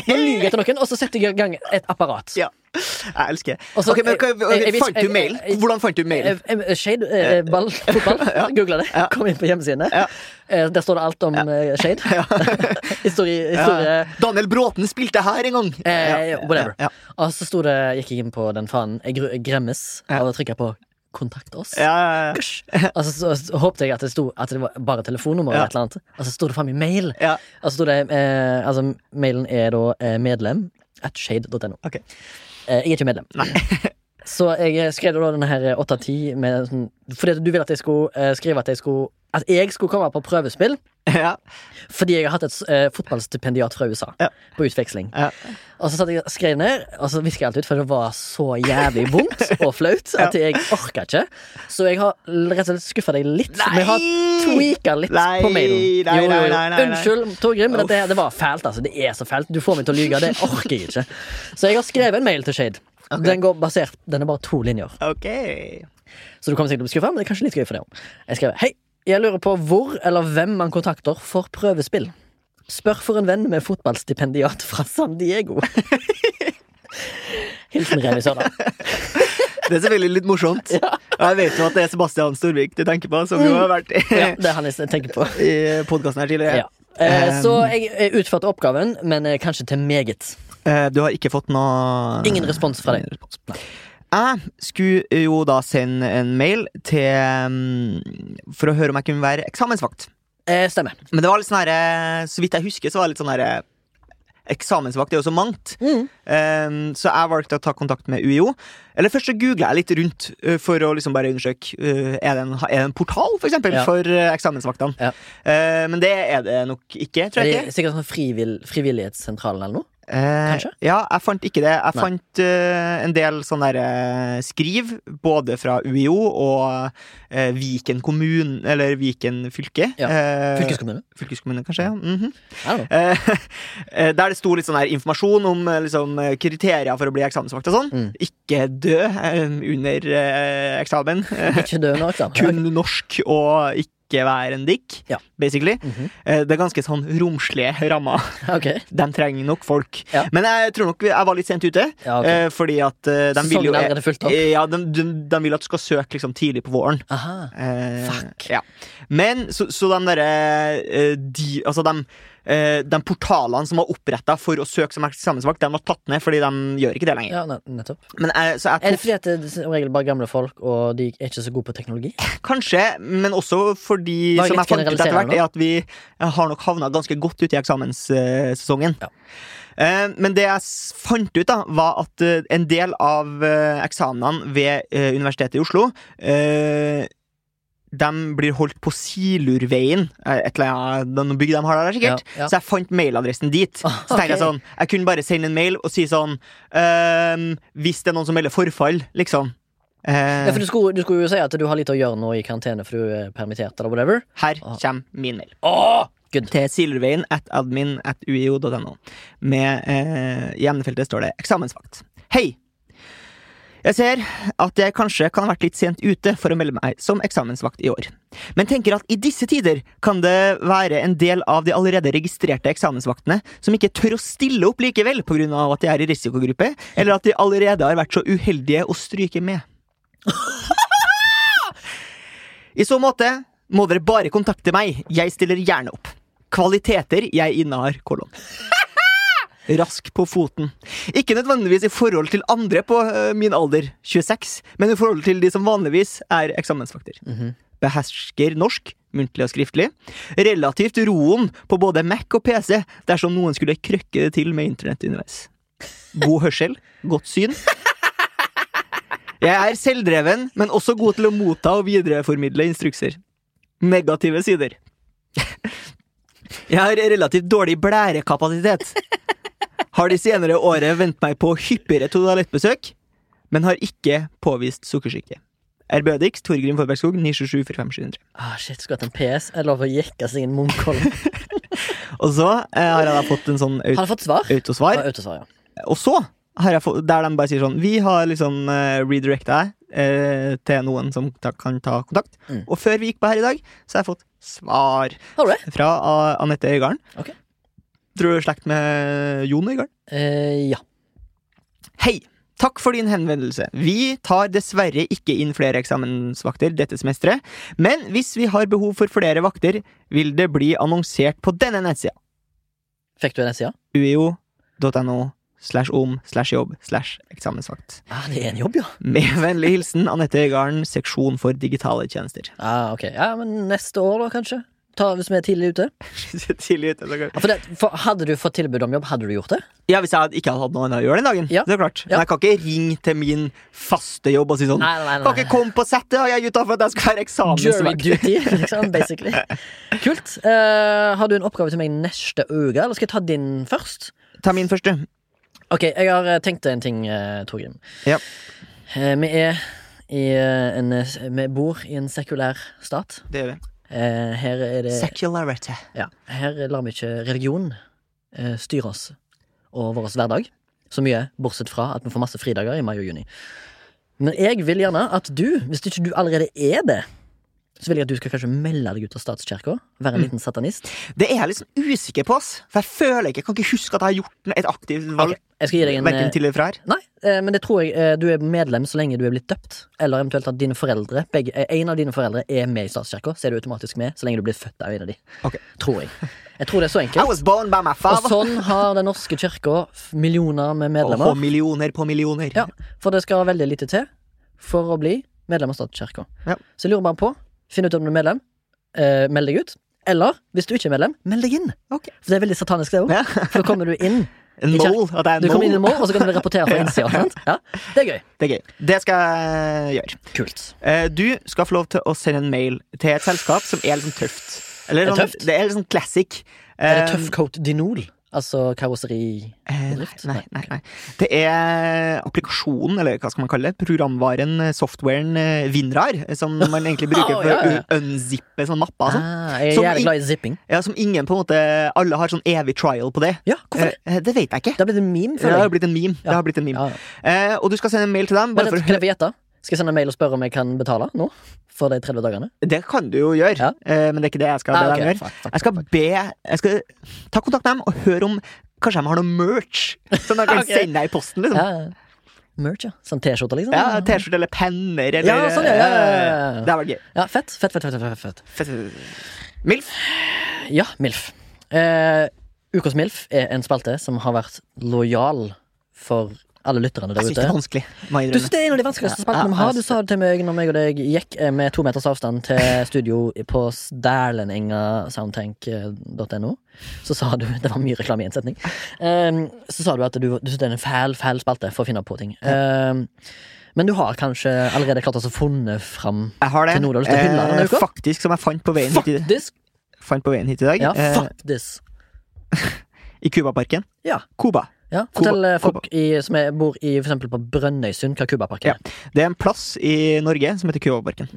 S1: Nå lyger jeg til noen, og så setter jeg i gang et apparat
S2: Ja. Jeg elsker det.
S1: Og så- eh,
S2: Ok, men hva-
S1: jeg- jeg- jeg-
S2: Fant du
S1: jeg-
S2: mailen?
S1: jeg-
S2: Hvordan fant du mailen?
S1: Eh, eh, Shade, eh, ball, fotball Googlet det,
S2: Ja.
S1: kom inn på hjemmesidene
S2: Ja.
S1: Eh, Der står det alt om eh, Shade Historie, historie
S2: Ja. Eh, Daniel Bråten spilte her en gang!
S1: Eh, whatever.
S2: Ja.
S1: Og så sto det, gikk jeg inn på den fanen Jeg gru- jeg gremmes
S2: Ja.
S1: av å trykke på Kontakt oss
S2: Ja, ja, ja.
S1: Altså, så, så håpte jeg at det, sto, at det var bare telefonnummer
S2: Ja.
S1: eller et eller annet. Og så sto det faen meg mail.
S2: Ja.
S1: Og så sto det, eh, altså, mailen er da eh, medlem at shade.no.
S2: Ok.
S1: Eh, jeg er ikke medlem. så jeg eh, skrev da denne her 8-10 med sånn Fordi du ville at jeg skulle eh, skrive at jeg skulle At jeg skulle komme på prøvespill
S2: ja.
S1: fordi jeg har hatt et eh, fotballstipendiat fra USA
S2: Ja.
S1: på utveksling.
S2: Ja.
S1: Og så satt jeg og skrev ned, og så viska jeg alt ut, for det var så jævlig vondt og flaut at jeg orka ikke. Så jeg har l- rett og slett skuffa deg litt. Men jeg har tweaka litt
S2: Nei,
S1: på mailen.
S2: nei, nei, nei, nei.
S1: Unnskyld, Torgrim, men dette, her- det var fælt. altså Det er så fælt. Du får meg til å lyge. Det orker jeg ikke. Så jeg har skrevet en mail til Shade. Den, går basert, den er bare to linjer.
S2: Ok.
S1: Så du kommer sikkert til å bli skuffa, men det er kanskje litt gøy for deg òg. Jeg skrev Hei, jeg lurer på hvor eller hvem man kontakter for prøvespill. Spør for en venn med fotballstipendiat fra San Diego. Hilsen Remi Sørdal.
S2: Det er selvfølgelig litt morsomt. Jeg vet jo at det er Sebastian Storvik du tenker på, som jo har vært
S1: Ja, det er han jeg tenker på.
S2: i podkasten her tidligere.
S1: Ja.
S2: Ehm.
S1: Eh, Så jeg jeg utførte oppgaven, men eh, kanskje til meget.
S2: Eh, Du har ikke fått noe
S1: Ingen respons fra deg. Nei.
S2: Jeg skulle jo da sende en mail til mm, For å høre om jeg kunne være eksamensvakt.
S1: Eh, Stemmer.
S2: Men det var litt sånn herre Så vidt jeg husker, så var det litt sånn herre Eksamensvakt er jo så mangt. Eh, så jeg valgte å ta kontakt med UiO. Eller først så googla jeg litt rundt eh, for å liksom bare undersøke. eh, er, det en, er det en portal, for eksempel,
S1: Ja.
S2: for eh, eksamensvaktene?
S1: Ja.
S2: Eh, men det er det nok ikke, tror
S1: Er
S2: jeg
S1: det
S2: ikke.
S1: sikkert sånn frivill, frivillighetssentralen eller noe?
S2: Eh,
S1: Kanskje?
S2: ja, jeg fant ikke det. Jeg
S1: Nei.
S2: fant eh, en del sånne der, eh, skriv, både fra UiO og eh, Viken kommune, eller Viken fylke.
S1: Ja.
S2: Eh,
S1: Fylkeskommune?
S2: fylkeskommune, kanskje. Ja. Mhm.
S1: I don't know.
S2: Eh, eh, der det sto litt sånn her informasjon om eh, liksom, eh, kriterier for å bli eksamensvakt og sånn.
S1: Mm.
S2: Ikke dø eh, under eh, eksamen. Eh,
S1: Ikke dø under eksamen.
S2: kun norsk og ikke være en dick,
S1: Ja.
S2: basically.
S1: Mhm.
S2: Eh, det er ganske sånn romslige rammer.
S1: Ok.
S2: De trenger nok folk.
S1: Ja.
S2: Men jeg tror nok jeg var litt sent ute.
S1: Ja, ok.
S2: eh, Fordi at eh, de vil jo
S1: Sesongen er allerede fulgt opp.
S2: eh, Ja, de, de, de vil at du skal søke liksom tidlig på våren.
S1: Aha.
S2: Eh,
S1: Fuck.
S2: Ja. Men så, så de derre eh, de, Altså, de, eh, de portalene som var oppretta for å søke som eksamensvakt, de var tatt ned fordi de gjør ikke det lenger.
S1: Ja, ne- nettopp.
S2: Men jeg, så
S1: Er
S2: jeg
S1: det fordi at det som regel bare er gamle folk, og de er ikke så gode på teknologi?
S2: tok kanskje, men også fordi
S1: Bare litt
S2: Som jeg fant ut etter
S1: generaliserende
S2: hvert, er at vi har nok havna ganske godt ut i eksamenssesongen.
S1: Ja.
S2: Eh, Men det jeg s- fant ut, da var at eh, en del av eh, eksamenene ved eh, Universitetet i Oslo eh, De blir holdt på Silurveien, eh, et eller annet noen bygg de har der, sikkert.
S1: Ja, ja.
S2: Så jeg fant mailadressen dit. Så
S1: Ah,
S2: tenkte jeg
S1: ok.
S2: sånn Jeg kunne bare sende en mail og si sånn ehm, Hvis det er noen som melder forfall, liksom. eh,
S1: Ja, for du skulle, du skulle jo si at du har lite å gjøre nå i karantene, for du er permittert eller whatever.
S2: her
S1: Ah.
S2: kommer min mail.
S1: Åh, good.
S2: til silurveien at admin at uio.no. Med eh, i emnefeltet står det 'eksamensvakt'. Hei! Jeg ser at jeg kanskje kan ha vært litt sent ute for å melde meg som eksamensvakt i år. Men tenker at i disse tider kan det være en del av de allerede registrerte eksamensvaktene som ikke tør å stille opp likevel pga. at de er i risikogruppe, eller at de allerede har vært så uheldige å stryke med. I så måte må dere bare kontakte meg. Jeg stiller gjerne opp. Kvaliteter jeg innehar, kolon. Rask på foten. Ikke nødvendigvis i forhold til andre på øh, min alder, 26, men i forhold til de som vanligvis er eksamensvakter. Behersker norsk, muntlig og skriftlig. Relativt roen på både Mac og PC dersom noen skulle krøkke det til med internett underveis. God hørsel, godt syn, jeg er selvdreven, men også god til å motta og videreformidle instrukser. Negative sider. Jeg har relativt dårlig blærekapasitet. Har de senere året vent meg på hyppigere toalettbesøk, men har ikke påvist sukkersyke. Ærbødigst Torgrim Forbergskog, 927 45700.
S1: Ah, shit, skulle hatt en PS. Jeg lov å jekke seg en munnkoll.
S2: Og så eh, har jeg da fått en sånn
S1: Har
S2: aut
S1: du fått svar? Ja,
S2: autosvar.
S1: autosvar, ja.
S2: Og så har jeg fått, der de bare sier sånn Vi har liksom uh, redirecta deg eh, til noen som ta, kan ta kontakt.
S1: Mm.
S2: Og før vi gikk på her i dag, så har jeg fått svar
S1: Har du det?
S2: fra A- Anette Øygarden.
S1: Ok.
S2: Tror du er slekt med Jon Øygarden?
S1: Eh, ja.
S2: Hei! Takk for din henvendelse. Vi tar dessverre ikke inn flere eksamensvakter dette semesteret, men hvis vi har behov for flere vakter, vil det bli annonsert på denne nettsida.
S1: Fikk du den sida?
S2: uio.no slash om slash jobb slash eksamensvakt.
S1: Ah, det er en jobb, ja.
S2: Med vennlig hilsen Anette Øygarden, seksjon for digitale tjenester.
S1: Ah, ok. Ja, men neste år, da, kanskje? Ta, hvis vi er tidlig ute?
S2: Tidlig ute, så godt.
S1: Ja, for det, for, hadde du fått tilbud om jobb, hadde du gjort det?
S2: Ja, Hvis jeg ikke hadde hatt noe annet å gjøre den dagen.
S1: Ja.
S2: Det er klart
S1: Ja.
S2: Men jeg kan ikke ringe til min faste jobb og si sånn
S1: Nei, nei, nei,
S2: Kan ikke komme på settet, og jeg er ute for at jeg skal være
S1: Jury
S2: eksamensvakt.
S1: duty, liksom, basically. Kult. Eh, har du en oppgave til meg neste uke, eller skal jeg ta din først?
S2: Ta min første.
S1: Ok, jeg har eh, tenkt en ting, eh, Torgrim.
S2: Ja.
S1: Eh, vi er i eh, en eh, Vi bor i en sekulær stat.
S2: Det gjør vi.
S1: Eh, her er det
S2: Secularity.
S1: ja, Her lar vi ikke religion eh, styre oss og vår hverdag så mye, bortsett fra at vi får masse fridager i mai og juni. Men jeg vil gjerne at du, hvis ikke du allerede er det, så vil jeg at du skal kanskje melde deg ut av statskirka. Være en liten satanist.
S2: Det er jeg liksom usikker på, ass. For jeg føler ikke, jeg kan ikke huske at jeg har gjort en- et aktivt valg.
S1: Jeg skal gi deg en
S2: Verken
S1: eh,
S2: til eller fra her.
S1: Nei, eh, men det tror jeg eh, du er medlem så lenge du er blitt døpt. Eller eventuelt at dine foreldre begge, eh, en av dine foreldre er med i statskirka. Så er du automatisk med så lenge du blir født av en av de.
S2: Ok.
S1: Tror jeg. Jeg tror det er så
S2: I
S1: enkelt.
S2: was born by my
S1: Og
S2: father.
S1: sånn har Den norske kirka f- millioner med
S2: Og på
S1: medlemmer.
S2: millioner på millioner.
S1: Ja, For det skal veldig lite til for å bli medlem av statskirka.
S2: Ja.
S1: Så jeg lurer bare på, finn ut om du er medlem, eh, meld deg ut. Eller hvis du ikke er medlem, meld deg inn.
S2: Ok.
S1: For det er veldig satanisk, det òg.
S2: Ja.
S1: For da kommer du inn.
S2: En
S1: I kjer-
S2: mål. At
S1: Du
S2: jeg er
S1: kommer inn i
S2: en mål.
S1: mål, og så kan du rapportere fra innsida. sant? Ja, det er gøy.
S2: Det er gøy. Det skal jeg gjøre.
S1: Kult.
S2: Eh, Du skal få lov til å sende en mail til et selskap som er litt sånn tøft. Eller
S1: Er det
S2: sånn,
S1: tøft?
S2: det er litt sånn classic.
S1: Er det
S2: Eh,
S1: Tøffcoat Dinol? Altså karosseri
S2: Eh, nei,
S1: Bedrift?
S2: nei, nei, nei. Det er applikasjonen, eller hva skal man kalle det, programvaren, eh, softwaren eh, WinRAR, eh, som man egentlig bruker
S1: Å,
S2: for
S1: ja, ja.
S2: å unzippe sånne mapper. og
S1: Ah,
S2: sånn.
S1: jeg er
S2: Som
S1: jævlig
S2: i-
S1: glad i zipping.
S2: Ja, som ingen på en måte Alle har sånn evig trial på det.
S1: Ja, hvorfor det?
S2: Eh, det vet jeg ikke.
S1: Da blir det meme,
S2: Det har
S1: føler jeg.
S2: blitt en meme. Det
S1: Ja.
S2: har blitt en meme.
S1: Ja, ja.
S2: Eh, og du skal sende en mail til dem.
S1: Men
S2: Bare
S1: det,
S2: for,
S1: kan jeg få gjette? Skal jeg sende en mail og spørre om jeg kan betale nå? For de 30 dagene?
S2: det kan du jo gjøre,
S1: Ja.
S2: eh, men det er ikke det jeg skal be
S1: Ah, ok,
S2: dem gjøre.
S1: fuck, fuck,
S2: Jeg skal be Jeg skal ta kontakt med dem og høre om Kanskje de har noe merch som de kan
S1: Ok.
S2: sende deg i posten. liksom
S1: Ja, ja. merch, ja. Sånn Mm. T-skjorte, liksom?
S2: Ja, T-skjorte eller penner eller Eh,
S1: Ja, sånn, ja, ja, ja, ja.
S2: Det har vært gøy.
S1: Ja, fett, fett, fett, fett, fett, fett.
S2: Milf.
S1: Ja, MILF. Eh, Ukas MILF er en spalte som har vært lojal for alle lytterne der
S2: Jeg syns det
S1: ute.
S2: er vanskelig. må jeg
S1: Du
S2: innrømme.
S1: synes det er en av de vanskeligste spaltene vi
S2: Ja, ja,
S1: har. Du
S2: jeg
S1: sa det til meg når meg og deg gikk eh, med to meters avstand til studio på dælenengasoundtank.no. Så sa du Det var mye reklame i en setning. Ehm, Så sa du at du, du synes det er en fæl, fæl spalte for å finne på ting. Ehm, Men du har kanskje allerede klart å funnet fram
S2: Jeg har det. Eh,
S1: Til Nordahl skal hylle denne uka.
S2: faktisk, som jeg fant på veien
S1: Fuck
S2: hit i,
S1: this!
S2: fant på veien hit i dag.
S1: Ja,
S2: eh,
S1: fuck this!
S2: I Cubaparken.
S1: Ja.
S2: Cuba.
S1: Ja,
S2: Cuba-
S1: fortell eh, folk
S2: Cuba.
S1: i, som er, bor i for eksempel på Brønnøysund, hva Cubaparken
S2: Ja.
S1: er.
S2: Det er en plass i Norge som heter Cubaparken.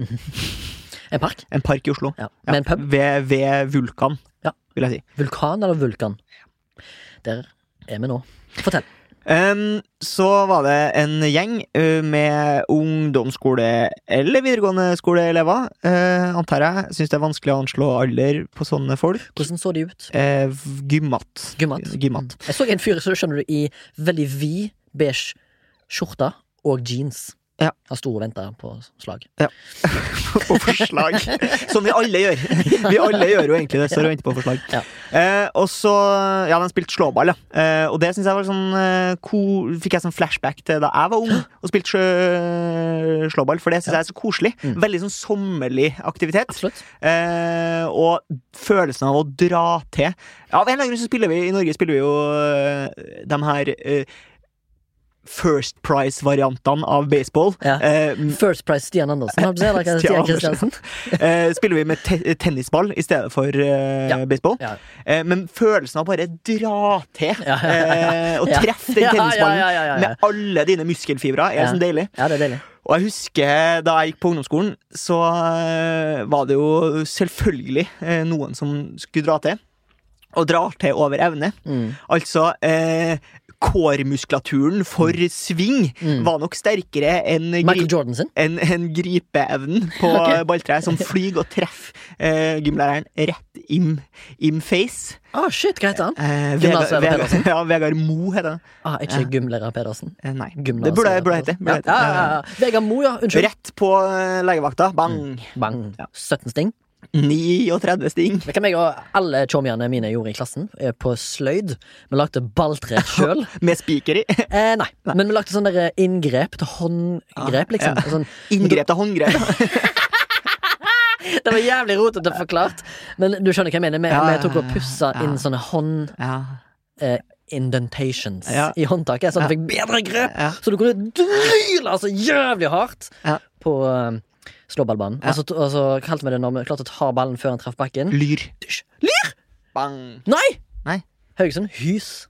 S1: En park?
S2: En park i Oslo.
S1: Ja.
S2: Ja,
S1: Med en pub?
S2: Ved, ved Vulkan,
S1: Ja.
S2: vil jeg si.
S1: Vulkan eller vulkan? Der er vi nå. Fortell.
S2: Ehm, så var det en gjeng eh, med ungdomsskole- eller videregående skoleelever, eh, antar jeg. Syns det er vanskelig å anslå alder på sånne folk.
S1: Hvordan så de ut?
S2: Eh, v- gymmat.
S1: Gymmat.
S2: Gymmat.
S1: Jeg så en fyr så skjønner du, i veldig vid beige skjorte og jeans.
S2: Ja.
S1: Han sto og venta på slag.
S2: på forslag. Som vi alle gjør. Vi alle gjør jo egentlig det, står og venter på forslag.
S1: Ja.
S2: Eh, og så Ja, de spilte slåball, ja. Eh, og det syns jeg var sånn eh, ko, Fikk jeg sånn flashback til da jeg var ung og spilte sjø- slåball, for det syns jeg er så koselig.
S1: Mm.
S2: Veldig sånn sommerlig aktivitet.
S1: Absolutt.
S2: Eh, og følelsen av å dra til. Ja, Av en eller annen grunn så spiller vi i Norge spiller vi jo eh, de her eh, First Price-variantene av baseball.
S1: Ja.
S2: Eh,
S1: First Price Stian Andersen. har du sett, eller
S2: Stian
S1: Stian
S2: Andersen.
S1: Kristiansen.
S2: Eh, spiller vi med te tennisball i stedet for eh,
S1: Ja.
S2: baseball.
S1: Ja.
S2: Eh, men følelsen av bare dra til
S1: Ja, ja,
S2: eh, og
S1: Ja.
S2: treffe den
S1: Ja, ja,
S2: tennisballen
S1: ja, ja, ja.
S2: med alle dine muskelfibrer, er
S1: Ja.
S2: så deilig.
S1: Ja, det er deilig.
S2: Og jeg husker da jeg gikk på ungdomsskolen, så eh, var det jo selvfølgelig eh, noen som skulle dra til. Og drar til over evne.
S1: Mm.
S2: Altså eh, Kårmuskulaturen for sving var nok sterkere enn
S1: Mm. Michael Jordan sin.
S2: en, en gripeevnen på
S1: Ok.
S2: balltreet som flyger og treffer eh, gymlæreren rett im, im face.
S1: Ah, shit, hva heter han?
S2: Eh,
S1: Gymnas Vegard
S2: Vegard-
S1: Pedersen.
S2: ja, Vegard Mo heter han.
S1: Ah, ikke gymlærer Pedersen.
S2: Eh, nei,
S1: Gymnas
S2: det burde jeg burde
S1: Vegard
S2: jeg hete.
S1: Pedersen.
S2: Burde jeg hete.
S1: Ja, ja, ja, ja. Vegard Mo, ja.
S2: Eh,
S1: Unnskyld.
S2: Rett på eh, legevakta. Bang!
S1: Mm. Bang. 17 sting.
S2: 39 sting.
S1: Det kan jeg og alle tjommiene mine gjorde i klassen. eh, På sløyd. Vi lagde balltre sjøl.
S2: Med spiker i.
S1: Eh, nei. men vi lagde sånn der inngrep til
S2: Ah,
S1: håndgrep, liksom. Og Sånn,
S2: Inngrep til håndgrep.
S1: det var jævlig rotete forklart, men du skjønner hva jeg mener. Vi,
S2: Ja, ja,
S1: vi tok og
S2: ja,
S1: pussa
S2: ja.
S1: inn sånne hånd...
S2: ja.
S1: Eh, Indentations
S2: Ja.
S1: i håndtaket, sånn så du
S2: Ja.
S1: fikk bedre grep.
S2: Ja.
S1: Så du kunne dryle så altså, jævlig hardt
S2: Ja.
S1: på eh, slåballbanen. Og, så, og så kalte vi det når vi klarte å ta ballen før han traff bakken.
S2: Lyr.
S1: Dysj.
S2: Bang.
S1: Nei!
S2: Nei.
S1: Haugesund. Hys.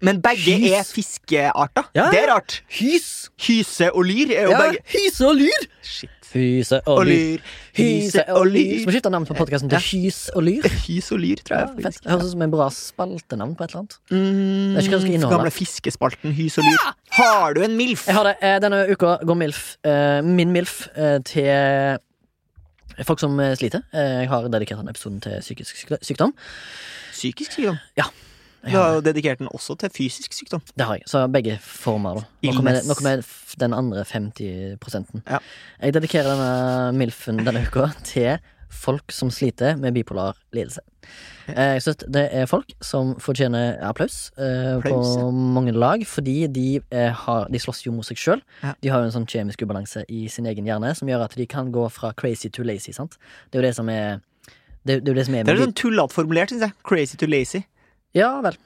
S2: Men begge
S1: Hys.
S2: er fiskearter.
S1: Ja.
S2: Det er rart.
S1: Hys!
S2: Hyse og lyr er jo
S1: Ja,
S2: begge
S1: hyse og lyr!
S2: Shit.
S1: Hyse og,
S2: Og
S1: lyr.
S2: lyr. Hyse og
S1: Skal vi
S2: lyr.
S1: skifte navn på podkasten til Hys og lyr?
S2: Hys og lyr, tror
S1: Ja,
S2: jeg.
S1: fett.
S2: faktisk.
S1: Det høres ut som en bra spaltenavn på et eller annet.
S2: Mm,
S1: Det er ikke hva det skal inneholde.
S2: Gamle fiskespalten Hys og lyr. Har du en MILF?
S1: Jeg har det. Eh, Denne uka går MILF, eh, min MILF, eh, til folk som eh, sliter. Eh, Jeg har dedikert denne episoden til psykisk syk- sykdom.
S2: Psykisk sykdom. Du har jo dedikert den også til fysisk sykdom.
S1: Det har jeg. Så begge former, da. Nå kommer jeg-
S2: Illness.
S1: Nå kommer jeg f- den andre 50
S2: Ja.
S1: Jeg dedikerer denne MILF-en denne uka til folk som sliter med bipolar lidelse. Eh, Jeg synes det er folk som fortjener applaus eh,
S2: Applaus, ja.
S1: på mange lag, fordi de, eh, har, de slåss jo mot seg sjøl.
S2: Ja.
S1: De har jo en sånn kjemisk ubalanse i sin egen hjerne som gjør at de kan gå fra crazy to lazy, sant. Det er jo det som er det, det er jo det som er
S2: Det
S1: med
S2: er
S1: bi-
S2: sånn tullete formulert, syns jeg. Crazy to lazy.
S1: Ja vel.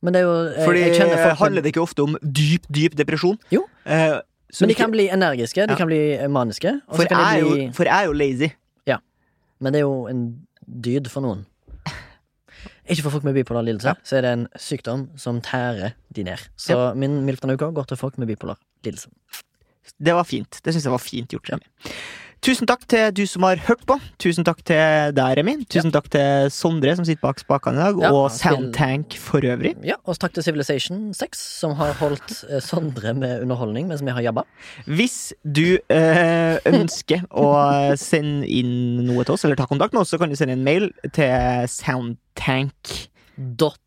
S1: Men det er jo Eh, jeg,
S2: Fordi
S1: jeg kjenner folk med-
S2: handler det ikke ofte om dyp, dyp depresjon?
S1: Jo.
S2: Eh, som
S1: Men de
S2: ikke-
S1: kan bli energiske, de
S2: Ja.
S1: kan bli eh, maniske. og
S2: for,
S1: så kan de
S2: jeg er
S1: bli...
S2: jo, for jeg er jo lazy.
S1: Men det er jo en dyd for noen. Ikke for folk med bipolar lidelse, så er det en sykdom som tærer de ned. Så min MILF denne uka går til folk med bipolar lidelse.
S2: Det var fint. Det syns jeg var fint gjort. Remi. Tusen takk til du som har hørt på. Tusen takk til deg, Remi. Tusen takk til Sondre, som sitter bak spakene i dag,
S1: Ja,
S2: og
S1: han spiller-
S2: Soundtank for øvrig.
S1: Ja, Og takk til Civilization 6, som har holdt eh, Sondre med underholdning mens vi har jabba.
S2: Hvis du eh, ønsker å sende inn noe til oss, eller ta kontakt med oss, så kan du sende en mail til soundtank.
S1: Dot.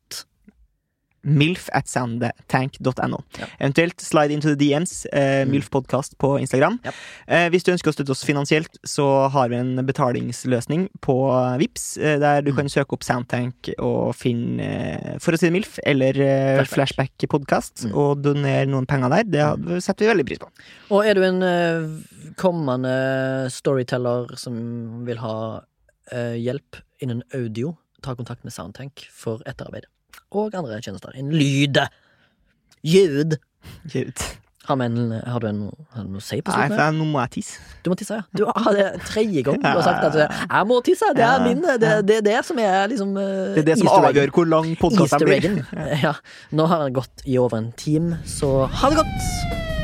S2: Milf at soundtank.no.
S1: Ja. Mm.
S2: Eventuelt slide into the DMs. Eh, Milf podcast på Instagram.
S1: Ja.
S2: Eh, hvis du ønsker å støtte oss finansielt, så har vi en betalingsløsning på Vips eh, der
S1: Mm.
S2: du kan søke opp Soundtank og finne eh, For å si det Milf, eller eh, Flashback, Podcast,
S1: Mm.
S2: og donere noen penger der. Det hadde- setter vi veldig pris på.
S1: Og er du en eh, kommende storyteller som vil ha eh, hjelp innen audio, ta kontakt med Soundtank for etterarbeid. Og andre tjenester innen lyd. Ljud.
S2: Kjørt.
S1: Har, vi en, har du en, har du noe å si på
S2: Nei, for
S1: slutten? her?
S2: jeg, nå må jeg tisse.
S1: Du må tisse, ja. Du, ah, det er tredje gang du har sagt at eh, 'jeg må tisse'. Det er
S2: Ja,
S1: min, det, det er det som er liksom eh,
S2: Det er det som
S1: Easter
S2: avgjør hvor lang podkasten
S1: Easter
S2: blir.
S1: eggen. Ja. Nå har det gått i over en time, så ha det godt!